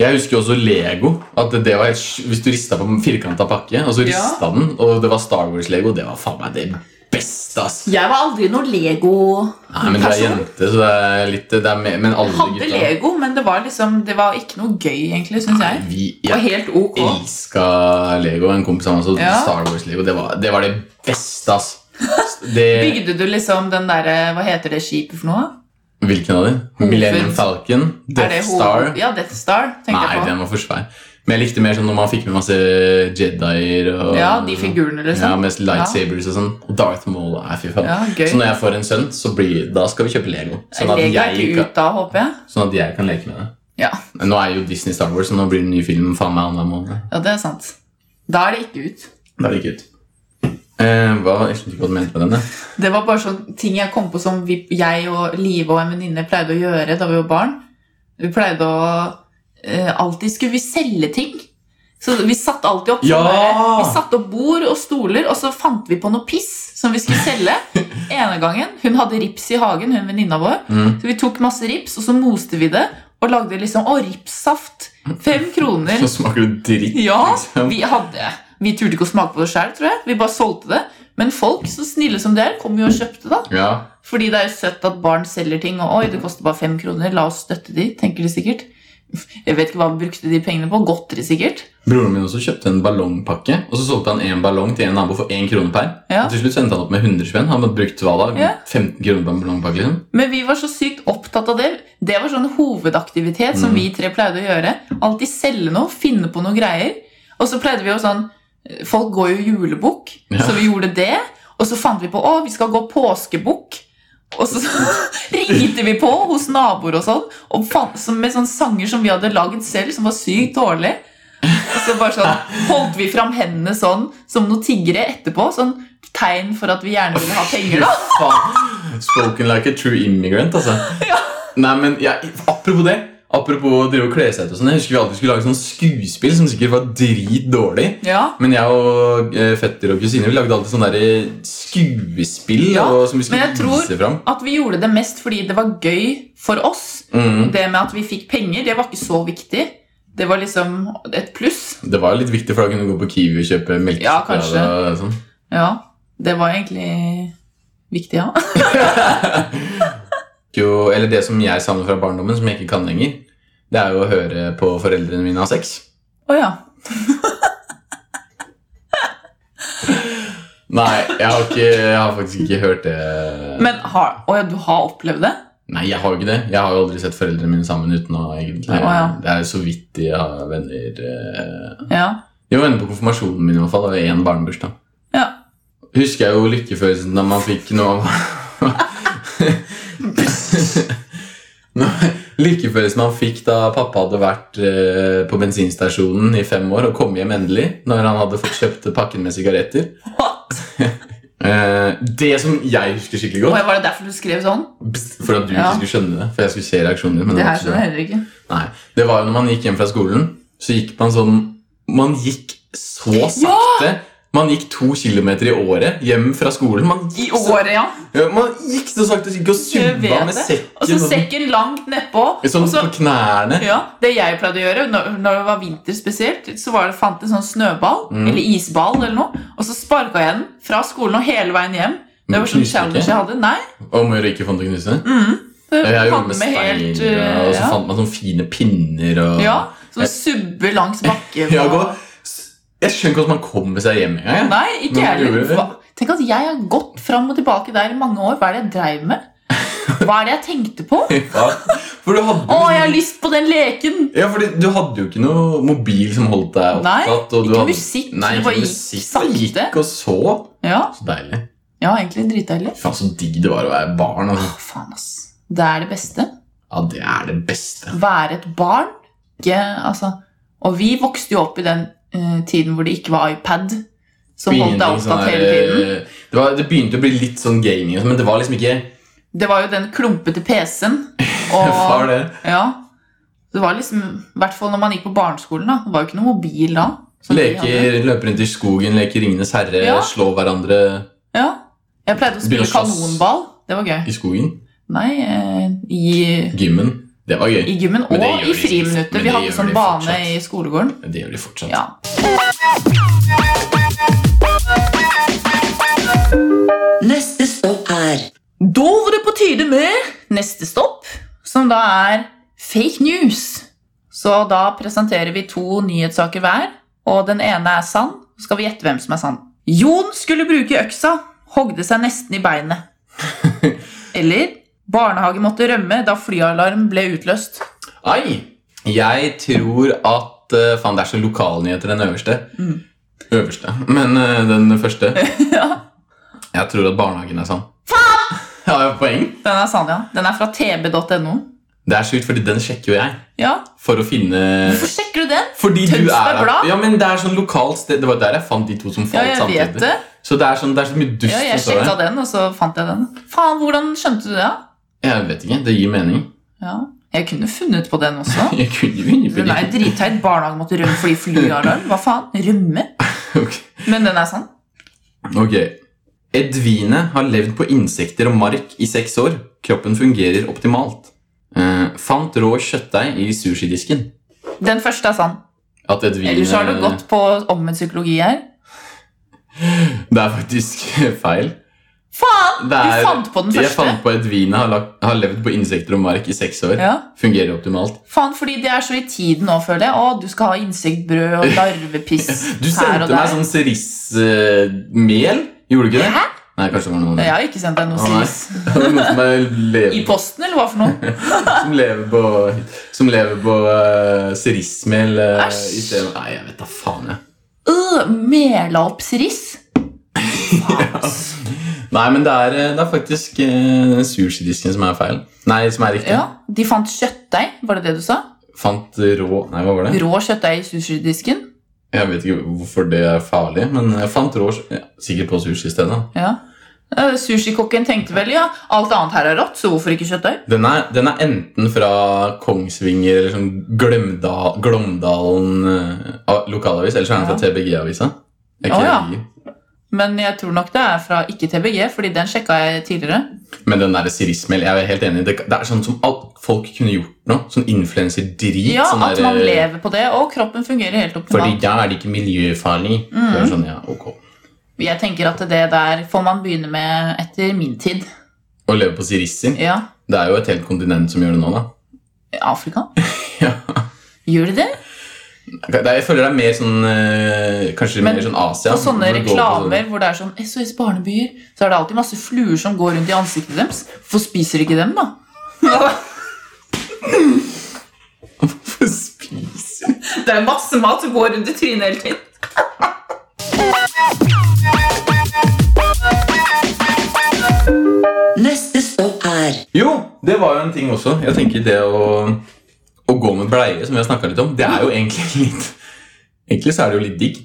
Speaker 2: Jeg husker jo også Lego. At det var helt, sj- Hvis du rista på en firkanta pakke, og så
Speaker 3: Ja.
Speaker 2: rista den, og det var Star Wars-lego, det var faen meg det beste, ass.
Speaker 3: Jeg var aldri noe
Speaker 2: Nei, men du er
Speaker 3: Lego-person.
Speaker 2: jente, så det er litt det er mer, Men alle
Speaker 3: Hadde
Speaker 2: gutta
Speaker 3: Lego, men det var liksom Det var ikke noe gøy, egentlig, syns jeg.
Speaker 2: Vi
Speaker 3: Det var
Speaker 2: jeg
Speaker 3: helt ok.
Speaker 2: elska Lego. En kompis av meg som
Speaker 3: Ja.
Speaker 2: Star Wars-lego. Det, var- det var det beste, ass. Det,
Speaker 3: Bygde du liksom den derre Hva heter det skipet for noe?
Speaker 2: hvilken av de? Millennium Falcon?
Speaker 3: Er det
Speaker 2: Death
Speaker 3: hoved-
Speaker 2: Star?
Speaker 3: Ja, Death Star. tenkte
Speaker 2: Nei,
Speaker 3: jeg
Speaker 2: den var for svær. Men jeg likte mer sånn når man fikk med masse Jedier
Speaker 3: på.
Speaker 2: og
Speaker 3: Ja, de figurene,
Speaker 2: Ja,
Speaker 3: liksom.
Speaker 2: med lightsabers og sånn. Og Darth Maul. Nei, fy faen.
Speaker 3: Ja, gøy.
Speaker 2: Så når jeg får en sønn, så blir, da skal vi kjøpe Lego. Sånn at,
Speaker 3: Lego er
Speaker 2: jeg
Speaker 3: ikke
Speaker 2: kan,
Speaker 3: ut da, håper jeg.
Speaker 2: sånn at jeg kan leke med det.
Speaker 3: Ja.
Speaker 2: Men Nå er jo Disney Star Wars, så nå blir det en ny film faen meg annenhver måned.
Speaker 3: ja, det er sant. Da er det ikke ut.
Speaker 2: Da er det ikke ut. Eh, hva, jeg skjønte ikke hva du mente med denne.
Speaker 3: Det var bare sånn ting jeg kom på som vi, jeg og Live og en venninne pleide å gjøre da vi var barn. Vi pleide å eh, Alltid skulle vi selge ting. Så vi satte alltid opp
Speaker 2: Ja!
Speaker 3: sånn der, Vi satte opp bord og stoler, og så fant vi på noe piss som vi skulle selge. Ene gangen, Hun hadde rips i hagen, hun venninna vår.
Speaker 2: Mm.
Speaker 3: Så vi tok masse rips, og så moste vi det og lagde liksom Å, ripssaft! Fem kroner.
Speaker 2: Så smaker det dritt.
Speaker 3: Ja,
Speaker 2: liksom.
Speaker 3: vi hadde Vi turte ikke å smake på det sjøl, tror jeg. Vi bare solgte det. Men folk, så snille som de er, kom jo og kjøpte, da.
Speaker 2: Ja.
Speaker 3: Fordi det er jo søtt at barn selger ting, og oi, det koster bare fem kroner, la oss støtte de, tenker de sikkert. Jeg vet ikke hva han brukte de pengene på. Godteri, sikkert.
Speaker 2: Broren min også kjøpte en ballongpakke, og så solgte han en ballong til en nabo for én krone per.
Speaker 3: Ja.
Speaker 2: Og til slutt endte han opp med 100 spenn. Han hadde brukt hva da?
Speaker 3: Ja.
Speaker 2: 15 kroner på en ballongpakke? liksom.
Speaker 3: Men vi var så sykt opptatt av det. Det var sånn hovedaktivitet som
Speaker 2: Mm.
Speaker 3: vi tre pleide å gjøre. Alltid selge noe, finne på noe greier. Og så pleide vi jo sånn Folk går jo julebukk,
Speaker 2: Ja.
Speaker 3: så vi gjorde det. Og så fant vi på å, vi skal gå påskebukk. Og så ringte vi på hos naboer og sånn og fant, som- med sånne sanger som vi hadde laget selv, som var sykt dårlig. Og så bare sånn holdt vi fram hendene sånn som noen tiggere etterpå. Sånn tegn for at vi gjerne ville ha penger, da.
Speaker 2: Faen. Spoken like a true immigrant, altså. Nei, men jeg, apropos det. Apropos å drive og kle seg ut og sånn. Jeg husker vi alltid skulle lage sånn skuespill som sikkert var dritdårlig.
Speaker 3: Ja.
Speaker 2: Men jeg og eh, fetter og kusiner vi lagde alltid sånne der eh, skuespill
Speaker 3: Ja,
Speaker 2: og, som vi skulle
Speaker 3: men jeg tror-
Speaker 2: vise fram.
Speaker 3: At vi gjorde det mest fordi det var gøy for oss.
Speaker 2: Mm.
Speaker 3: Det med at vi fikk penger, det var ikke så viktig. Det var liksom et pluss.
Speaker 2: Det var litt viktig, for da kunne du gå på Kiwi og kjøpe melkesjokolade.
Speaker 3: Ja, kanskje.
Speaker 2: og sånn.
Speaker 3: Ja, det var egentlig viktig, ja.
Speaker 2: jo, eller det som jeg savner fra barndommen, som jeg ikke kan lenger, det er jo å høre på foreldrene mine ha sex.
Speaker 3: Å ja.
Speaker 2: Nei, jeg har, ikke, jeg har faktisk ikke hørt det.
Speaker 3: Men har, å ja, du har opplevd det?
Speaker 2: Nei, jeg har jo ikke det. Jeg har jo aldri sett foreldrene mine sammen uten å egentlig.
Speaker 3: Å, ja.
Speaker 2: Det er jo så vidt de har venner eh.
Speaker 3: Ja.
Speaker 2: De var venner på konfirmasjonen min i hvert fall, og én barnebursdag.
Speaker 3: Ja.
Speaker 2: Husker jeg jo lykkefølelsen da man fikk noe Nå- Lykkefølelsen man fikk da pappa hadde vært eh, på bensinstasjonen i fem år og kom hjem endelig, når han hadde fått kjøpt pakken med sigaretter.
Speaker 3: What?
Speaker 2: Eh, det som jeg husker skikkelig
Speaker 3: Å,
Speaker 2: godt
Speaker 3: ja, var det derfor du skrev sånn?
Speaker 2: Pst, For at du
Speaker 3: Ja.
Speaker 2: ikke skulle skjønne det. For jeg skulle se reaksjonen din. Men det,
Speaker 3: Det
Speaker 2: var
Speaker 3: her
Speaker 2: ikke
Speaker 3: skjønner jeg heller ikke.
Speaker 2: så- Nei, det var jo når man gikk hjem fra skolen, så gikk man sånn Man gikk så sakte. Man gikk to kilometer i året hjem fra skolen. Man
Speaker 3: I
Speaker 2: gikk, så,
Speaker 3: året, ja.
Speaker 2: ja, man gikk så sakte så gikk og
Speaker 3: Jeg
Speaker 2: subba
Speaker 3: vet
Speaker 2: med
Speaker 3: det.
Speaker 2: sekken.
Speaker 3: Og så
Speaker 2: sånn-
Speaker 3: sekken langt nedpå.
Speaker 2: Sånn
Speaker 3: og så-
Speaker 2: på knærne.
Speaker 3: Ja, Det jeg pleide å gjøre når, når det var vinter spesielt, så var det, fant jeg en sånn snøball
Speaker 2: Mm.
Speaker 3: eller isball eller noe, og så sparka jeg den fra skolen og hele veien hjem. Det
Speaker 2: Men
Speaker 3: var sånn
Speaker 2: knuste
Speaker 3: challenge
Speaker 2: ikke?
Speaker 3: jeg hadde. Nei.
Speaker 2: Om å ikke fant å knuse.
Speaker 3: Det
Speaker 2: Jeg gjorde
Speaker 3: fant
Speaker 2: det med
Speaker 3: meg helt, eh,
Speaker 2: steiner, og så
Speaker 3: ja.
Speaker 2: fant man sånne fine pinner og
Speaker 3: ja, Som subber langs bakken.
Speaker 2: Jeg,
Speaker 3: og-
Speaker 2: går, jeg skjønner ikke hvordan man kommer seg hjem engang. jeg.
Speaker 3: Nei, ikke
Speaker 2: Men
Speaker 3: jeg
Speaker 2: gjorde
Speaker 3: heller.
Speaker 2: du det?
Speaker 3: Hva- Tenk at jeg har gått fram og tilbake der i mange år. Hva er det jeg dreiv med? Hva er det jeg tenkte på?
Speaker 2: Ja, sånn- For du hadde,
Speaker 3: Å, jeg har lyst på den leken!
Speaker 2: ja, fordi du hadde jo ikke noe mobil som holdt deg
Speaker 3: Nei,
Speaker 2: opptatt. og du
Speaker 3: Ikke
Speaker 2: hadde-
Speaker 3: musikk.
Speaker 2: Nei,
Speaker 3: det
Speaker 2: ikke
Speaker 3: bare
Speaker 2: musikk.
Speaker 3: gikk sakte.
Speaker 2: Gikk og så.
Speaker 3: Ja,
Speaker 2: Så deilig.
Speaker 3: ja egentlig dritdeilig.
Speaker 2: Faen, så digg det var å være barn. Altså.
Speaker 3: Å, faen, ass. Det er det beste.
Speaker 2: Ja, det er det beste.
Speaker 3: Være et barn. Ikke, altså, og vi vokste jo opp i den eh, tiden hvor det ikke var iPad som holdt
Speaker 2: Ingenting
Speaker 3: deg
Speaker 2: sånn
Speaker 3: opptatt
Speaker 2: der,
Speaker 3: hele tiden.
Speaker 2: eh, det, var, det begynte å bli litt sånn gaming, men det var liksom ikke
Speaker 3: Det var jo den klumpete PC-en.
Speaker 2: Var
Speaker 3: Og,
Speaker 2: det?
Speaker 3: ja, det var liksom, I hvert fall når man gikk på barneskolen. da, Det var jo ikke noe mobil da. som vi hadde.
Speaker 2: Leker, løper rundt i skogen, leker Ringenes herre,
Speaker 3: Ja.
Speaker 2: slå hverandre
Speaker 3: Ja. Jeg pleide å
Speaker 2: Begynner
Speaker 3: spille
Speaker 2: å slåss.
Speaker 3: kanonball. Det var gøy.
Speaker 2: i skogen.
Speaker 3: Nei, eh, i,
Speaker 2: Gymmen. Det var gøy.
Speaker 3: i gymmen
Speaker 2: Men
Speaker 3: og
Speaker 2: det gjør
Speaker 3: i
Speaker 2: de-
Speaker 3: friminuttet.
Speaker 2: men
Speaker 3: Vi
Speaker 2: det
Speaker 3: hadde
Speaker 2: gjør
Speaker 3: sånn
Speaker 2: de
Speaker 3: bane
Speaker 2: fortsatt.
Speaker 3: i skolegården.
Speaker 2: Det gjør de fortsatt.
Speaker 3: Ja.
Speaker 1: Neste stopp er
Speaker 3: Da var det på tide med neste stopp, som da er fake news. Så da presenterer vi to nyhetssaker hver, og den ene er sann. Så skal vi gjette hvem som er sann. Jon skulle bruke øksa, hogde seg nesten i beinet. Eller barnehage måtte rømme da flyalarm ble utløst.
Speaker 2: Ai! Jeg tror at eh, Faen, det er så lokalnyheter, den øverste.
Speaker 3: Mm.
Speaker 2: Øverste. Men eh, den første.
Speaker 3: Ja.
Speaker 2: Jeg tror at barnehagen er sann. Faen! Har jeg poeng?
Speaker 3: Den er sann, ja. Den er fra tb.no.
Speaker 2: Det er sjukt, fordi den sjekker jo jeg.
Speaker 3: Ja,
Speaker 2: For å finne
Speaker 3: Hvorfor sjekker du den?
Speaker 2: Fordi du
Speaker 3: Tønsberg
Speaker 2: er
Speaker 3: Blad?
Speaker 2: Ja, men det er sånn lokalt sted. Det var der jeg fant de to som
Speaker 3: Ja,
Speaker 2: falt
Speaker 3: jeg vet
Speaker 2: samtidig.
Speaker 3: det.
Speaker 2: Så det er, sånn, det er så mye dust.
Speaker 3: Ja, jeg
Speaker 2: som står
Speaker 3: sjekka
Speaker 2: der.
Speaker 3: den, og så fant jeg den. Faen, hvordan skjønte du det? da?
Speaker 2: jeg vet ikke. Det gir mening.
Speaker 3: Ja. Jeg kunne funnet på den også.
Speaker 2: Jeg kunne jo ikke
Speaker 3: Den er jo dritteit. Barnehagen måtte rømme fordi flyalarm. Hva faen? Rømme?
Speaker 2: Ok.
Speaker 3: Men den er sann.
Speaker 2: Ok. Edvine har levd på insekter og mark i seks år. Kroppen fungerer optimalt. Eh, fant rå kjøttdeig i sushidisken.
Speaker 3: Den første er sann.
Speaker 2: At Edvine
Speaker 3: Ellers har du gått på omvendt psykologi her.
Speaker 2: Det er faktisk feil.
Speaker 3: Faen!
Speaker 2: Det er-
Speaker 3: du fant på den
Speaker 2: Jeg
Speaker 3: første.
Speaker 2: fant på et vin jeg har, lagt- har levd på insekter og mark i seks år.
Speaker 3: Ja.
Speaker 2: Fungerer optimalt.
Speaker 3: Faen, fordi det er så i tiden nå, føler jeg. Å, du skal ha insektbrød og larvepiss
Speaker 2: Du
Speaker 3: her og
Speaker 2: sendte
Speaker 3: der.
Speaker 2: meg sånn serissmel. Gjorde du ikke det?
Speaker 3: Hæ?
Speaker 2: Nei, kanskje det var noen
Speaker 3: Jeg har ikke sendt deg noe
Speaker 2: Å, nei.
Speaker 3: siris.
Speaker 2: Det er noen som, er
Speaker 3: I
Speaker 2: lever,
Speaker 3: posten, eller hva for noe?
Speaker 2: som lever på Som lever på uh, serissmel uh,
Speaker 3: Æsj.
Speaker 2: i stedet. Nei, jeg vet da faen, jeg.
Speaker 3: Øh, mela opp siris? Faen, ass.
Speaker 2: Nei, men det er, eh, det er faktisk uh, sushirisken som er feil. Nei, som er riktig.
Speaker 3: Ja, De fant kjøttdeig, var det det du sa?
Speaker 2: Fant rå Nei, hva var det?
Speaker 3: Rå kjøttdeig i sushidisken?
Speaker 2: Jeg vet ikke hvorfor det er farlig, men jeg fant rå ja, Sikkert på sushistedet.
Speaker 3: Ja. Eh, Sushikokken tenkte vel ja, alt annet her er rått, så hvorfor ikke kjøttdeig?
Speaker 2: Den er, den er enten fra Kongsvinger eller sånn Glømda, Glåmdalen eh, a- lokalavis, eller så er den fra TBG-avisa. Jeg
Speaker 3: Å, ja.
Speaker 2: kan gi.
Speaker 3: Men jeg tror nok det er fra ikke-TBG, fordi den sjekka jeg tidligere.
Speaker 2: Men den der sirismel, jeg er helt enig. Det, det er sånn som alt folk kunne gjort nå. Sånn influenser-drit.
Speaker 3: Ja,
Speaker 2: sånn
Speaker 3: At
Speaker 2: der,
Speaker 3: man
Speaker 2: eh,
Speaker 3: lever på det, og kroppen fungerer helt
Speaker 2: Fordi
Speaker 3: optimalt.
Speaker 2: da er det ikke miljøfarlig.
Speaker 3: Mm.
Speaker 2: Så er det sånn, ja, ok.
Speaker 3: Jeg tenker at det der får man begynne med etter min tid.
Speaker 2: Å leve på sirisser.
Speaker 3: Ja,
Speaker 2: Det er jo et helt kontinent som gjør det nå, da.
Speaker 3: Afrika?
Speaker 2: Ja.
Speaker 3: Gjør de det?
Speaker 2: Det er, jeg føler det er mer sånn eh, Kanskje
Speaker 3: Men
Speaker 2: mer sånn Asia.
Speaker 3: På sånne
Speaker 2: hvor det går på sånn-
Speaker 3: reklamer hvor det er sånn SOS barnebyer, så er det alltid masse fluer som går rundt i ansiktet deres. Hvorfor spiser de ikke dem, da?
Speaker 2: Hvorfor spiser
Speaker 3: Det er masse mat som går rundt i trynet hele tiden.
Speaker 1: Neste stopp er
Speaker 2: Jo, det var jo en ting også. Jeg tenker det å, å gå med bleie, som vi har snakka litt om, det er jo egentlig litt Egentlig så er det jo litt digg.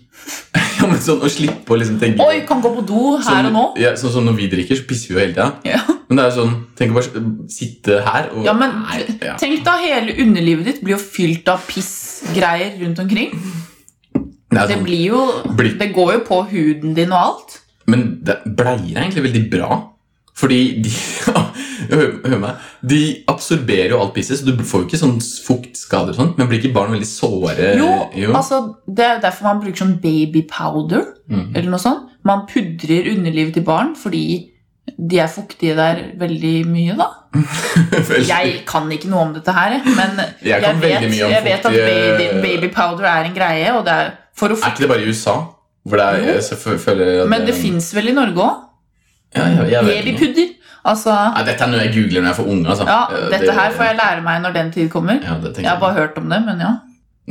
Speaker 2: Ja, men sånn Å slippe å liksom tenke
Speaker 3: Oi, kan gå på do her
Speaker 2: sånn,
Speaker 3: og nå.
Speaker 2: Ja, sånn som når vi drikker, så pisser vi jo hele tida.
Speaker 3: Ja.
Speaker 2: Men det er jo sånn Tenk å bare s- sitte her og
Speaker 3: Ja, men
Speaker 2: Nei, ja.
Speaker 3: Tenk da, hele underlivet ditt blir jo fylt av pissgreier rundt omkring.
Speaker 2: Det er
Speaker 3: Det
Speaker 2: sånn,
Speaker 3: blir jo
Speaker 2: Blir-
Speaker 3: Det går jo på huden din og alt.
Speaker 2: Men det, bleier er egentlig veldig bra. Fordi de hør, hør meg. De absorberer jo alt pisset, så du får jo ikke sånn fuktskader og sånn. Men blir ikke barn veldig såre?
Speaker 3: Jo, altså Det er jo derfor man bruker sånn baby powder
Speaker 2: Mhm.
Speaker 3: eller noe sånt. Man pudrer underlivet til barn fordi de er fuktige der veldig mye, da.
Speaker 2: Veldig.
Speaker 3: Jeg kan ikke noe om dette her, jeg, men
Speaker 2: Jeg
Speaker 3: jeg
Speaker 2: kan
Speaker 3: vet,
Speaker 2: veldig mye om
Speaker 3: jeg vet at
Speaker 2: fuktige-
Speaker 3: baby, baby powder er en greie, og det er for å
Speaker 2: Er
Speaker 3: fukte.
Speaker 2: ikke det bare i USA? Hvor det er,
Speaker 3: Jo.
Speaker 2: jeg fø- føler at
Speaker 3: Men det fins vel i Norge òg?
Speaker 2: ja, jeg, jeg vet ikke.
Speaker 3: Babypudder. Altså,
Speaker 2: Nei, Dette er noe jeg googler når jeg får unge. Altså.
Speaker 3: ja,
Speaker 2: Eh, det-
Speaker 3: dette her får jeg lære meg når den tid kommer.
Speaker 2: ja, det tenker
Speaker 3: Jeg har
Speaker 2: jeg.
Speaker 3: bare hørt om det, men ja.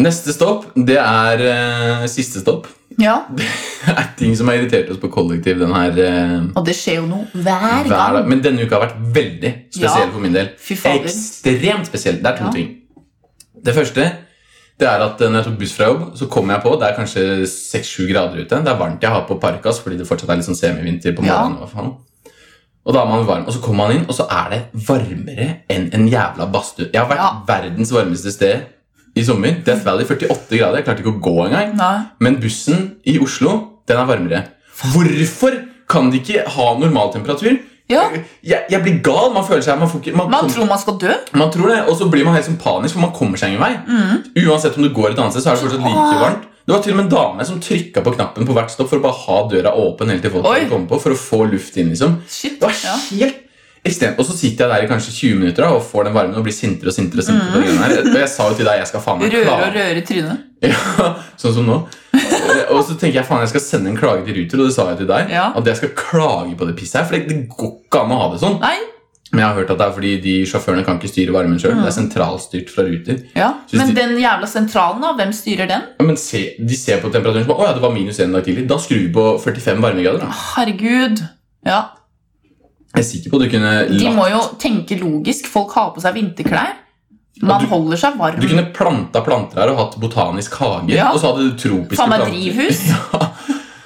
Speaker 2: Neste stopp, det er eh, siste stopp.
Speaker 3: ja.
Speaker 2: Det er ting som har irritert oss på kollektiv den her eh,
Speaker 3: Og det skjer jo noe hver
Speaker 2: hver dag.
Speaker 3: gang.
Speaker 2: Men denne uka har vært veldig spesiell
Speaker 3: Ja.
Speaker 2: for min del.
Speaker 3: Fy fader.
Speaker 2: Ekstremt spesiell. Det er to
Speaker 3: Ja.
Speaker 2: ting. Det første det er at eh, når jeg tok buss fra jobb, så kom jeg på Det er kanskje 6-7 grader ute. Det er varmt jeg har på parkas fordi det fortsatt er litt sånn semivinter på
Speaker 3: Ja.
Speaker 2: morgenen. i hvert fall. Og da er man varm, og så kommer man inn, og så er det varmere enn en jævla badstue. Jeg har vært
Speaker 3: Ja.
Speaker 2: verdens varmeste sted i sommer. Death Valley 48 grader. Jeg klarte ikke å gå engang.
Speaker 3: Nei.
Speaker 2: Men bussen i Oslo, den er varmere. Hvorfor kan de ikke ha normal temperatur?
Speaker 3: Ja,
Speaker 2: Jeg, jeg blir gal. Man føler seg Man, får ikke, man,
Speaker 3: man
Speaker 2: kom-
Speaker 3: tror man skal dø.
Speaker 2: man tror det, og så blir man helt sånn panisk, for man kommer seg ingen vei. Uansett om du går et annet sted, så er det fortsatt like
Speaker 3: Mm. Åh.
Speaker 2: varmt. Det var til og med en dame som trykka på knappen på hvert stopp for å bare ha døra åpen helt til folk
Speaker 3: Oi.
Speaker 2: skulle komme på, for å få luft inn, liksom.
Speaker 3: Shit.
Speaker 2: Det var
Speaker 3: Ja.
Speaker 2: helt ekstremt. Og så sitter jeg der i kanskje 20 minutter da, og får den varmen og blir sintere og sintere. Og sintere på den her. Og jeg sa jo til deg jeg skal faen meg
Speaker 3: Mm. Røre og
Speaker 2: klage.
Speaker 3: røre i trynet.
Speaker 2: Ja, sånn som nå. Og så tenker jeg faen jeg skal sende en klage til Ruter, og det sa jeg til deg.
Speaker 3: Ja.
Speaker 2: At jeg skal klage på det pisset her, for det, det går ikke an å ha det sånn.
Speaker 3: Nei,
Speaker 2: Men jeg har hørt at det er fordi de sjåførene kan ikke styre varmen sjøl. Det er sentralstyrt fra Ruter.
Speaker 3: ja.
Speaker 2: Synes
Speaker 3: Men
Speaker 2: de-
Speaker 3: den jævla sentralen, da? Hvem styrer den?
Speaker 2: Ja, Men se, de ser på temperaturen som Å ja, det var minus en dag tidlig. Da skrur vi på 45 varmegrader. da.
Speaker 3: Herregud. Ja.
Speaker 2: Jeg er sikker på at du kunne
Speaker 3: De
Speaker 2: latt-
Speaker 3: må jo tenke logisk. Folk har på seg vinterklær. Man
Speaker 2: Ja, du-
Speaker 3: holder seg varm.
Speaker 2: Du kunne planta planter her og hatt botanisk hage.
Speaker 3: Ja.
Speaker 2: Og så hadde du tropiske
Speaker 3: Faen meg
Speaker 2: planter.
Speaker 3: drivhus.
Speaker 2: Ja.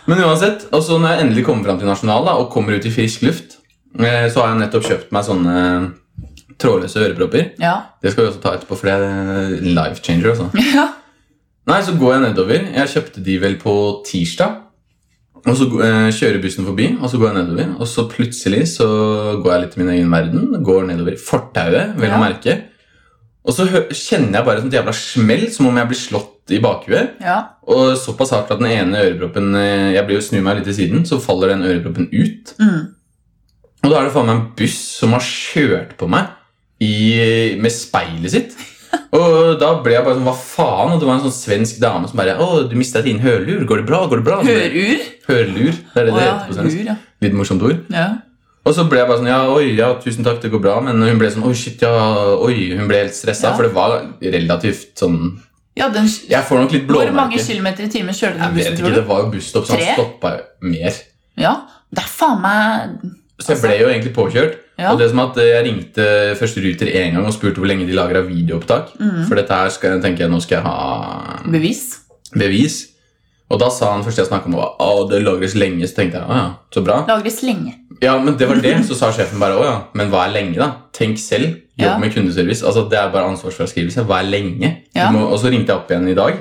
Speaker 2: Men uansett, og så når jeg endelig kommer fram til Nasjonal da, og kommer ut i frisk luft, eh, så har jeg nettopp kjøpt meg sånne trådløse ørepropper.
Speaker 3: Ja.
Speaker 2: Det skal vi også ta etterpå, for det er life changer. Også.
Speaker 3: ja.
Speaker 2: Nei, så går jeg nedover. Jeg kjøpte de vel på tirsdag. Og så eh, kjører bussen forbi, og så går jeg nedover. Og så plutselig så går jeg litt i min egen verden. Går nedover fortauet, vel å
Speaker 3: Ja.
Speaker 2: merke. Og så hø kjenner jeg bare et sånt jævla smell, som om jeg blir slått i bakhuet.
Speaker 3: ja.
Speaker 2: Og såpass hardt at den ene øreproppen eh, Jeg blir jo snur meg litt til siden, så faller den øreproppen ut.
Speaker 3: Mm.
Speaker 2: Og da er det faen meg en buss som har kjørt på meg i, med speilet sitt. Og da ble jeg bare sånn Hva faen? Og det var en sånn svensk dame som bare Å, du mista din hørlur. Går det bra? Går det bra? Så det-
Speaker 3: Hørur?
Speaker 2: Hørlur. Det er det
Speaker 3: Å
Speaker 2: det
Speaker 3: ja,
Speaker 2: heter på
Speaker 3: hør,
Speaker 2: svensk.
Speaker 3: ja.
Speaker 2: Litt morsomt ord.
Speaker 3: ja.
Speaker 2: Og så ble jeg bare sånn Ja, oi, ja, tusen takk, det går bra. Men hun ble sånn Oi, shit, ja, oi. Hun ble helt stressa,
Speaker 3: Ja.
Speaker 2: for det var relativt sånn
Speaker 3: ja den,
Speaker 2: Jeg får nok litt
Speaker 3: hvor mange
Speaker 2: blåmerker.
Speaker 3: kilometer i timen kjørte
Speaker 2: Jeg
Speaker 3: den
Speaker 2: vet
Speaker 3: bussen,
Speaker 2: ikke,
Speaker 3: tror
Speaker 2: det
Speaker 3: du?
Speaker 2: var jo busstopp, så
Speaker 3: Tre?
Speaker 2: han stoppa mer.
Speaker 3: Ja, Det er faen meg
Speaker 2: Så jeg ble jo egentlig påkjørt.
Speaker 3: Altså- Ja.
Speaker 2: Og det som at eh, Jeg ringte først Ruter én gang og spurte hvor lenge de lagra videoopptak.
Speaker 3: Mhm.
Speaker 2: For dette her skal, tenker jeg, nå skal jeg ha
Speaker 3: bevis.
Speaker 2: bevis. Og da sa han første jeg snakka med, var at det lagres lenge. Så tenkte jeg, å ja, så bra.
Speaker 3: Lagres lenge.
Speaker 2: Ja, men det var det. Så sa sjefen bare, å ja, men hva er lenge, da? Tenk selv. Jobb
Speaker 3: Ja.
Speaker 2: med kundeservice. Altså, Det er bare ansvarsfraskrivelse. Hva er lenge? Du
Speaker 3: Ja.
Speaker 2: Må, og så ringte jeg opp igjen i dag.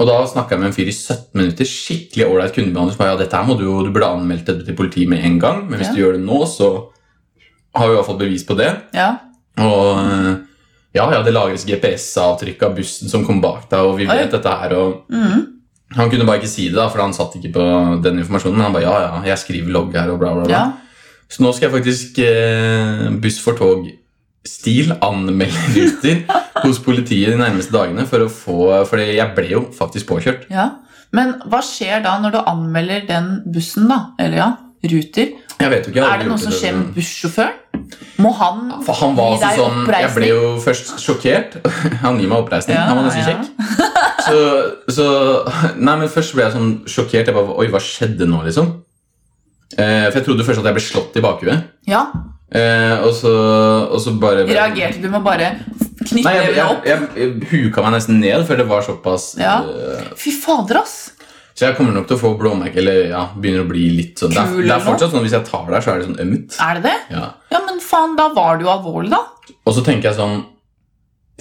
Speaker 2: Og da snakka jeg med en fyr i 17 minutter. Skikkelig ålreit kundebehandler. som bare, Ja, dette her må du jo, du burde anmeldt dette til politiet med en gang. Men hvis
Speaker 3: Ja.
Speaker 2: du gjør det nå, så har vi i hvert fall bevis på det.
Speaker 3: Ja.
Speaker 2: Og eh, ja, ja, det lagres GPS-avtrykk av bussen som kom bak deg, og vi
Speaker 3: Oi.
Speaker 2: vet dette her. og
Speaker 3: Mhm.
Speaker 2: Han kunne bare ikke si det, da, for han satt ikke på den informasjonen. Men han bare ja, ja, jeg skriver logg her og bla, bla, bla.
Speaker 3: ja.
Speaker 2: Så nå skal jeg faktisk eh, buss for tog-stil anmelde Ruter hos politiet de nærmeste dagene. For å få, for jeg ble jo faktisk påkjørt.
Speaker 3: ja. Men hva skjer da når du anmelder den bussen, da? Eller ja, Ruter.
Speaker 2: Jeg vet jo ikke, jeg har
Speaker 3: Er det
Speaker 2: aldri
Speaker 3: noe
Speaker 2: gjort
Speaker 3: som skjer med
Speaker 2: men-
Speaker 3: bussjåføren? Må han
Speaker 2: For han var
Speaker 3: gi
Speaker 2: altså
Speaker 3: deg
Speaker 2: sånn Jeg ble jo først sjokkert. Han gir meg oppreisning.
Speaker 3: Ja,
Speaker 2: han var nesten
Speaker 3: ja.
Speaker 2: kjekk. Så, så Nei, men først ble jeg sånn sjokkert. Jeg bare, Oi, hva skjedde nå, liksom? Eh, for jeg trodde først at jeg ble slått i bakhuet.
Speaker 3: Ja,
Speaker 2: Eh, og, så, og så bare
Speaker 3: reagerte du med å bare
Speaker 2: Nei,
Speaker 3: knytte
Speaker 2: jeg,
Speaker 3: øynene
Speaker 2: jeg,
Speaker 3: opp?
Speaker 2: jeg, jeg huka meg nesten ned, for det var såpass
Speaker 3: Ja.
Speaker 2: eh,
Speaker 3: Fy fader, ass!
Speaker 2: Så jeg kommer nok til å få blåmerke, eller ja, begynner å bli litt sånn det,
Speaker 3: Kul
Speaker 2: er, det
Speaker 3: eller
Speaker 2: er fortsatt sånn hvis jeg tar der, så er det sånn ømt.
Speaker 3: Er det det?
Speaker 2: Ja.
Speaker 3: Ja, men faen, da var det jo alvorlig, da.
Speaker 2: Og så tenker jeg sånn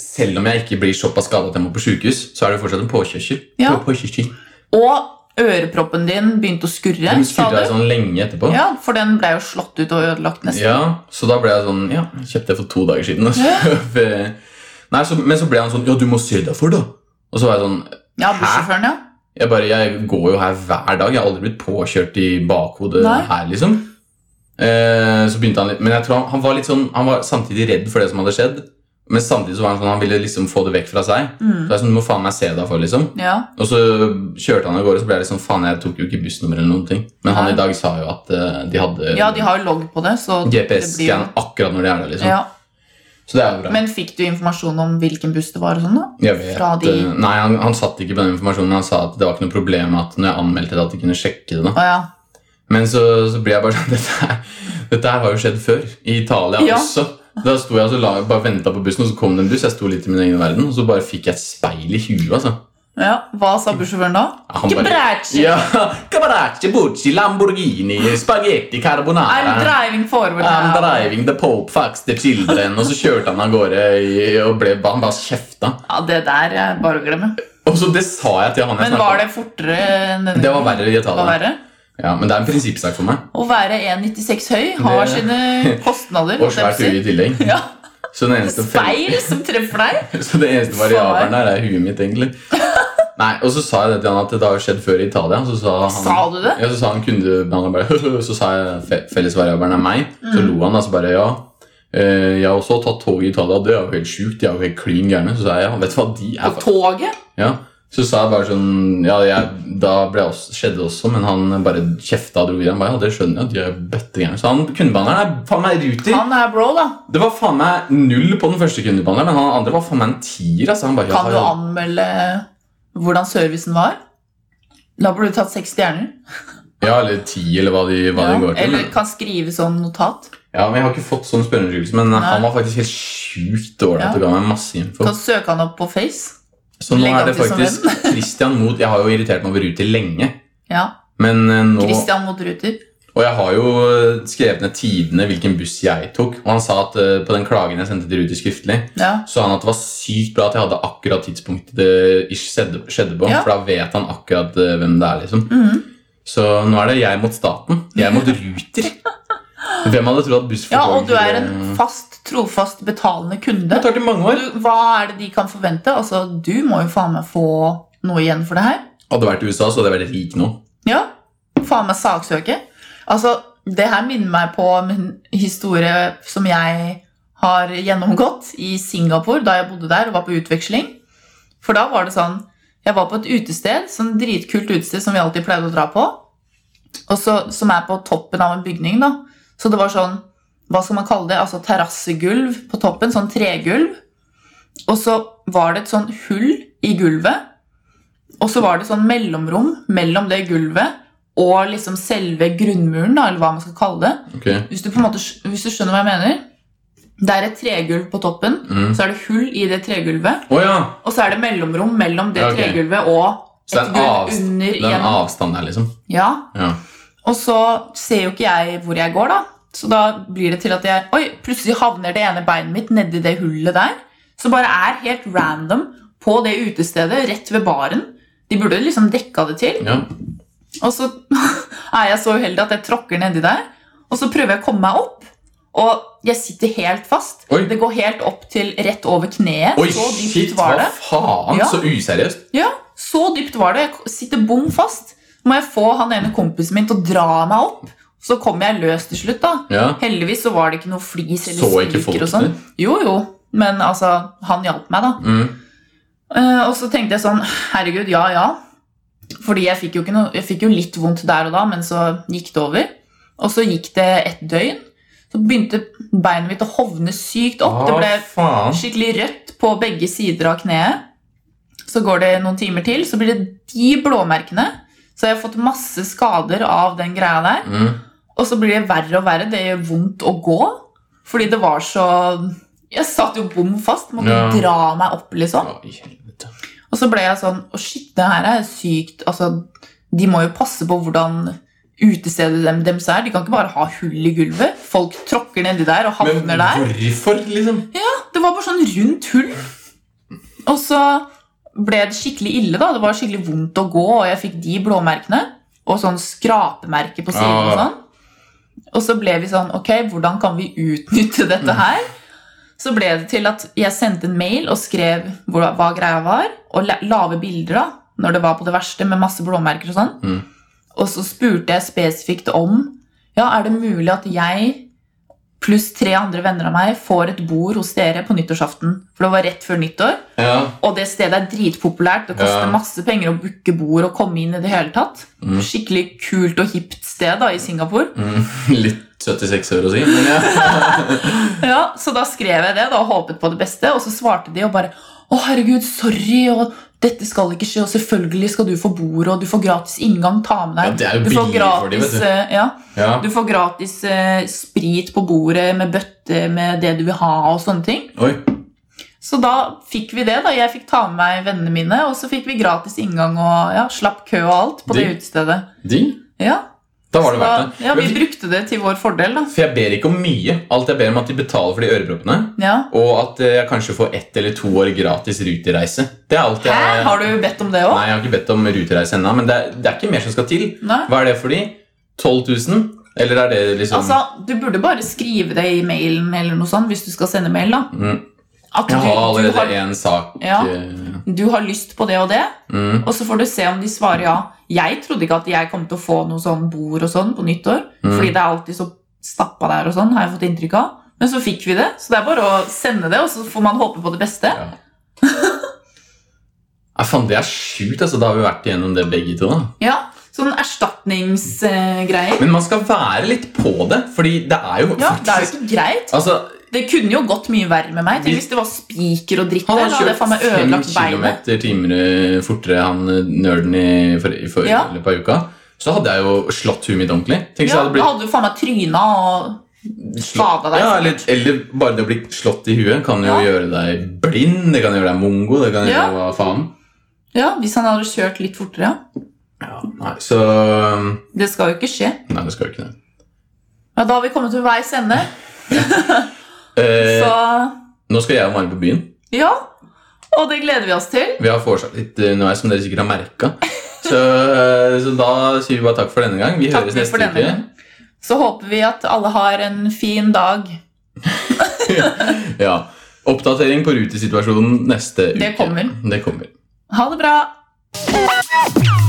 Speaker 2: Selv om jeg ikke blir såpass skada at jeg må på sjukehus, så er det fortsatt en påkjørsel.
Speaker 3: Ja.
Speaker 2: På, påkjørsel.
Speaker 3: Og øreproppen din begynte å skurre,
Speaker 2: Den
Speaker 3: sa
Speaker 2: skurra
Speaker 3: du?
Speaker 2: jeg sånn lenge etterpå.
Speaker 3: Ja, for den ble jo slått ut og ødelagt nesten.
Speaker 2: Ja, så da ble jeg sånn Ja, jeg kjøpte det for to dager siden. Altså. For- Nei, så, men så ble han sånn Ja, du må se deg for, da. Og så var jeg sånn
Speaker 3: Ja, bussjåføren, ja.
Speaker 2: Jeg bare, jeg går jo her hver dag. Jeg har aldri blitt påkjørt i bakhodet
Speaker 3: Nei.
Speaker 2: her, liksom. Eh, så begynte han litt, Men jeg tror han, han var litt sånn, han var samtidig redd for det som hadde skjedd. Men samtidig så var han sånn, han ville liksom få det vekk fra seg. Så
Speaker 3: Mm.
Speaker 2: jeg er sånn, du må faen meg se deg for, liksom.
Speaker 3: Ja,
Speaker 2: Og så kjørte han av gårde, så ble jeg litt sånn, faen, jeg tok jo ikke bussnummer eller noen ting. Men han
Speaker 3: Nei.
Speaker 2: i dag sa jo at eh, de hadde
Speaker 3: ja de har jo logg på det, så det blir jo-
Speaker 2: GPS-scan akkurat når de er der, liksom.
Speaker 3: Ja.
Speaker 2: Så det er jo bra.
Speaker 3: Men fikk du informasjon om hvilken buss det var og sånn, da?
Speaker 2: Jeg vet,
Speaker 3: fra de-
Speaker 2: eh, Nei, han, han satt ikke på den informasjonen. Han sa at det var ikke noe problem at når jeg anmeldte det, at de kunne sjekke det. da.
Speaker 3: Å ja.
Speaker 2: Men så, så ble jeg bare sånn dette her, dette her har jo skjedd før. I Italia
Speaker 3: Ja.
Speaker 2: også. Da sto jeg og så la, bare venta på bussen, og så kom det en buss. Jeg sto litt i min egen verden, og så bare fikk jeg et speil i huet. altså.
Speaker 3: ja. Hva sa bussjåføren
Speaker 2: Ja,
Speaker 3: da?
Speaker 2: Mm. han
Speaker 3: Ikke
Speaker 2: bare-
Speaker 3: brætsj!
Speaker 2: Ja, Cabaracci, Bucci, Lamborghini, spagetti
Speaker 3: I'm
Speaker 2: carbonara.
Speaker 3: driving forward
Speaker 2: I'm
Speaker 3: now.
Speaker 2: driving the Pope fucks the children. Og så kjørte han av gårde i- og ble, han bare kjefta.
Speaker 3: Ja, det der er bare å glemme.
Speaker 2: Og så Det sa jeg til han jeg
Speaker 3: Men var
Speaker 2: snakket
Speaker 3: det fortere enn
Speaker 2: om.
Speaker 3: denne?
Speaker 2: Det var verre i
Speaker 3: Det var
Speaker 2: Italia.
Speaker 3: verre.
Speaker 2: Ja, men det er en prinsippsak for meg.
Speaker 3: Å være 1,96 høy har
Speaker 2: Det-
Speaker 3: sine kostnader.
Speaker 2: Og
Speaker 3: holdt jeg på å
Speaker 2: svært
Speaker 3: si.
Speaker 2: hue i tillegg.
Speaker 3: Ja,
Speaker 2: Så den eneste
Speaker 3: Speil som treffer deg.
Speaker 2: Så det eneste variabelen her er huet mitt, egentlig. Nei, Og så sa jeg det til han at det har skjedd før i Italia. Så sa han,
Speaker 3: Sa du det?
Speaker 2: Ja, så sa han kundebehandler bare Så sa jeg fe- fellesvariabelen er meg. Så
Speaker 3: Mm.
Speaker 2: lo han, da. Så bare ja. Eh, jeg har også tatt tog i Italia. Det er jo helt sjukt. De er jo helt klin gærne. Så sa jeg ja, vet du hva de er
Speaker 3: Og
Speaker 2: for
Speaker 3: toget.
Speaker 2: ja. Så sa jeg bare sånn Ja, jeg, da ble jeg også, skjedde det også, men han bare kjefta og dro videre. Han bare, ja, det skjønner jeg, de er bøttegærne. Så han kundebehandleren er faen meg ruter.
Speaker 3: Han er bro, da.
Speaker 2: Det var faen meg null på den første kundebehandleren, men han andre var faen meg en tier. Altså. Han bare,
Speaker 3: Kan
Speaker 2: ja,
Speaker 3: du
Speaker 2: ja.
Speaker 3: anmelde hvordan servicen var? Da burde du tatt seks stjerner.
Speaker 2: Ja, eller ti, eller hva de, hva
Speaker 3: Ja,
Speaker 2: de går til.
Speaker 3: Eller kan skrive som notat.
Speaker 2: Ja, men Jeg har ikke fått sånn spørreundersøkelse, men han var faktisk helt sjukt ålreit
Speaker 3: Ja.
Speaker 2: og ga meg masse info.
Speaker 3: Kan søke han opp på Face.
Speaker 2: Så nå
Speaker 3: legge
Speaker 2: er det
Speaker 3: han til som
Speaker 2: faktisk Christian mot Jeg har jo irritert meg over Ruter lenge,
Speaker 3: Ja,
Speaker 2: men eh, nå
Speaker 3: Christian mot Ruter.
Speaker 2: Og jeg har jo eh, skrevet ned tidene hvilken buss jeg tok, og han sa at eh, på den klagen jeg sendte til Ruter skriftlig,
Speaker 3: Ja.
Speaker 2: sa han at det var sykt bra at jeg hadde akkurat tidspunktet det ish skjedde skjedde på,
Speaker 3: Ja.
Speaker 2: for da vet han akkurat eh, hvem det er, liksom.
Speaker 3: Mhm.
Speaker 2: Så nå er det jeg mot staten. Jeg mot Ruter. Hvem hadde trodd at buss for
Speaker 3: ja,
Speaker 2: tog
Speaker 3: og du er en
Speaker 2: skulle-
Speaker 3: fast, trofast, betalende kunde.
Speaker 2: Det tar til mange år.
Speaker 3: Du, hva er det de kan forvente? Altså, Du må jo faen meg få noe igjen for det her.
Speaker 2: Hadde jeg vært i USA, så hadde jeg vært rik nå.
Speaker 3: Ja, faen meg saksøke. Altså, det her minner meg på en historie som jeg har gjennomgått i Singapore da jeg bodde der og var på utveksling. For da var det sånn Jeg var på et utested, sånn dritkult utested som vi alltid pleide å dra på. Og så, som er på toppen av en bygning, da. Så det var sånn Hva skal man kalle det? Altså terrassegulv på toppen. Sånn tregulv. Og så var det et sånn hull i gulvet. Og så var det sånn mellomrom mellom det gulvet og liksom selve grunnmuren, da, eller hva man skal kalle det.
Speaker 2: Ok.
Speaker 3: Hvis du, på en måte, skj- hvis du skjønner hva jeg mener Det er et tregulv på toppen,
Speaker 2: Mm.
Speaker 3: så er det hull i det tregulvet,
Speaker 2: Å ja!
Speaker 3: og så er det mellomrom mellom det
Speaker 2: Ja, ok.
Speaker 3: tregulvet og
Speaker 2: Så det er
Speaker 3: et
Speaker 2: en
Speaker 3: gulv
Speaker 2: avst-
Speaker 3: under
Speaker 2: Det er en
Speaker 3: igjen.
Speaker 2: avstand her, liksom.
Speaker 3: Ja.
Speaker 2: Ja.
Speaker 3: Og så ser jo ikke jeg hvor jeg går, da. Så da blir det til at jeg Oi, plutselig havner det ene beinet mitt nedi det hullet der. Så bare er helt random på det utestedet rett ved baren. De burde liksom dekka det til.
Speaker 2: ja.
Speaker 3: Og så er jeg så uheldig at jeg tråkker nedi der. Og så prøver jeg å komme meg opp, og jeg sitter helt fast.
Speaker 2: Oi.
Speaker 3: Det går helt opp til rett over kneet.
Speaker 2: Oi,
Speaker 3: så dypt
Speaker 2: shit,
Speaker 3: var
Speaker 2: hva
Speaker 3: det.
Speaker 2: faen!
Speaker 3: Ja.
Speaker 2: Så useriøst.
Speaker 3: Ja, så dypt var det. Jeg sitter bom fast. Må jeg få han ene kompisen min til å dra meg opp. Så kommer jeg løs til slutt, da.
Speaker 2: Ja.
Speaker 3: Heldigvis så var det ikke noe flis
Speaker 2: Så
Speaker 3: eller
Speaker 2: ikke folk
Speaker 3: skriker og sånn.
Speaker 2: det?
Speaker 3: Jo, jo. Men altså, han hjalp meg, da.
Speaker 2: Mm.
Speaker 3: Eh, og så tenkte jeg sånn Herregud, ja ja. Fordi jeg fikk, jo ikke noe, jeg fikk jo litt vondt der og da, men så gikk det over. Og så gikk det et døgn. Så begynte beinet mitt å hovne sykt opp. Det ble
Speaker 2: Å, faen.
Speaker 3: skikkelig rødt på begge sider av kneet. Så går det noen timer til, så blir det de blåmerkene. Så jeg har fått masse skader av den greia der.
Speaker 2: Mm.
Speaker 3: Og så blir det verre og verre. Det gjør vondt å gå. Fordi det var så Jeg satt jo bom fast. Måtte
Speaker 2: Ja.
Speaker 3: dra meg opp, liksom.
Speaker 2: Å, i helvete.
Speaker 3: Og så ble jeg sånn Å, shit, det her er sykt. Altså, de må jo passe på hvordan utestedet dem, dems er. De kan ikke bare ha hull i gulvet. Folk tråkker nedi der og havner
Speaker 2: Men
Speaker 3: der.
Speaker 2: hvorfor, liksom?
Speaker 3: Det var bare sånn rundt hull. Og så ble det skikkelig ille, da. Det var skikkelig vondt å gå, og jeg fikk de blåmerkene. Og sånn skrapemerke på siden og
Speaker 2: Ah.
Speaker 3: sånn. Og så ble vi sånn Ok, hvordan kan vi utnytte dette her? Så ble det til at jeg sendte en mail og skrev hva, hva greia var, og la- lave bilder da, når det var på det verste, med masse blåmerker og sånn.
Speaker 2: Mm.
Speaker 3: Og så spurte jeg spesifikt om ja, er det mulig at jeg pluss tre andre venner av meg får et bord hos dere på nyttårsaften. For det var rett før nyttår,
Speaker 2: Ja.
Speaker 3: og det stedet er dritpopulært. Det koster
Speaker 2: Ja.
Speaker 3: masse penger å booke bord og komme inn i det hele tatt.
Speaker 2: Mm.
Speaker 3: Skikkelig kult og hipt sted da, i Singapore.
Speaker 2: Mm. Litt 76 øre å si, men ja. Mm.
Speaker 3: Ja, Så da skrev jeg det da, og håpet på det beste, og så svarte de og bare Å, herregud, sorry, og dette skal ikke skje, og selvfølgelig skal du få bord, og du får gratis inngang, ta med
Speaker 2: ja
Speaker 3: deg.
Speaker 2: det er jo
Speaker 3: du får
Speaker 2: billig for dem,
Speaker 3: gratis,
Speaker 2: vet du.
Speaker 3: eh, ja,
Speaker 2: Ja.
Speaker 3: du får gratis eh, sprit på bordet med bøtte med det du vil ha, og sånne ting.
Speaker 2: Oi.
Speaker 3: Så da fikk vi det. da, Jeg fikk ta med meg vennene mine, og så fikk vi gratis inngang og ja, slapp kø og alt på det
Speaker 2: Digg.
Speaker 3: utestedet.
Speaker 2: Digg.
Speaker 3: Ja,
Speaker 2: Da var det
Speaker 3: så da,
Speaker 2: verdt det.
Speaker 3: ja,
Speaker 2: Men
Speaker 3: Vi brukte det til vår fordel, da.
Speaker 2: For jeg ber ikke om mye. Alt jeg ber om, er at de betaler for de øreproppene.
Speaker 3: Ja.
Speaker 2: Og at eh, jeg kanskje får ett eller to år gratis rutereise. Det er alt jeg
Speaker 3: Hæ? Har du bedt om det
Speaker 2: Nei,
Speaker 3: òg?
Speaker 2: jeg har ikke bedt om rutereise ennå, men det er, det er ikke mer som skal til.
Speaker 3: Nei.
Speaker 2: Hva er det for de? 12 000? Eller er det liksom
Speaker 3: Altså, Du burde bare skrive det i mailen eller noe sånt hvis du skal sende mail. da.
Speaker 2: mm,
Speaker 3: At
Speaker 2: Jeg har
Speaker 3: du, du,
Speaker 2: allerede
Speaker 3: har,
Speaker 2: én sak
Speaker 3: Ja.
Speaker 2: eh,
Speaker 3: du har lyst på det og det,
Speaker 2: mm,
Speaker 3: og så får du se om de svarer ja. Jeg trodde ikke at jeg kom til å få noe sånn bord og sånn på nyttår,
Speaker 2: Mm.
Speaker 3: fordi det er alltid så stappa der og sånn, har jeg fått inntrykk av. Men så fikk vi det, så det er bare å sende det, og så får man håpe på det beste.
Speaker 2: ja. Nei, faen, det er sjukt. Altså. Da har vi vært igjennom det, begge to. Da.
Speaker 3: Ja, sånn erstatningsgreier.
Speaker 2: Men man skal være litt på det, fordi det er jo
Speaker 3: Ja, det er jo
Speaker 2: faktisk
Speaker 3: ikke greit.
Speaker 2: Altså,
Speaker 3: Det kunne jo gått mye verre med meg. Tenk hvis det var spiker og dritt
Speaker 2: han
Speaker 3: der.
Speaker 2: har
Speaker 3: Da hadde jeg faen meg
Speaker 2: kjørt
Speaker 3: ødelagt
Speaker 2: 5
Speaker 3: beinet.
Speaker 2: km fortere, han eh, nerden, i, for, i, for,
Speaker 3: Ja.
Speaker 2: i løpet av uka. Så hadde jeg jo slått huet mitt ordentlig. Tenk hvis jeg
Speaker 3: Ja,
Speaker 2: hadde
Speaker 3: da
Speaker 2: blitt
Speaker 3: hadde du faen meg tryna og
Speaker 2: Slå-
Speaker 3: Skada deg.
Speaker 2: Ja, eller, eller bare det å bli slått i huet kan jo
Speaker 3: Ja.
Speaker 2: gjøre deg blind, det kan gjøre deg mongo, det kan gjøre
Speaker 3: Ja.
Speaker 2: deg hva faen.
Speaker 3: Ja, hvis han hadde kjørt litt fortere. ja.
Speaker 2: Nei, så Nei,
Speaker 3: Det skal jo ikke skje.
Speaker 2: det skal jo ikke det.
Speaker 3: Ja, da har vi kommet til veis ende.
Speaker 2: Eh,
Speaker 3: Så
Speaker 2: nå skal jeg og Mari på byen.
Speaker 3: ja. Og det gleder vi oss til.
Speaker 2: Vi har foreslått litt underveis, som dere sikkert har merka. Så, eh, så da sier vi bare takk for denne gang. Vi
Speaker 3: Takk
Speaker 2: høres neste
Speaker 3: for denne
Speaker 2: uke.
Speaker 3: gang. Så håper vi at alle har en fin dag.
Speaker 2: Ja. Oppdatering på rutesituasjonen neste uke.
Speaker 3: Det kommer.
Speaker 2: Det kommer.
Speaker 3: Ha det bra.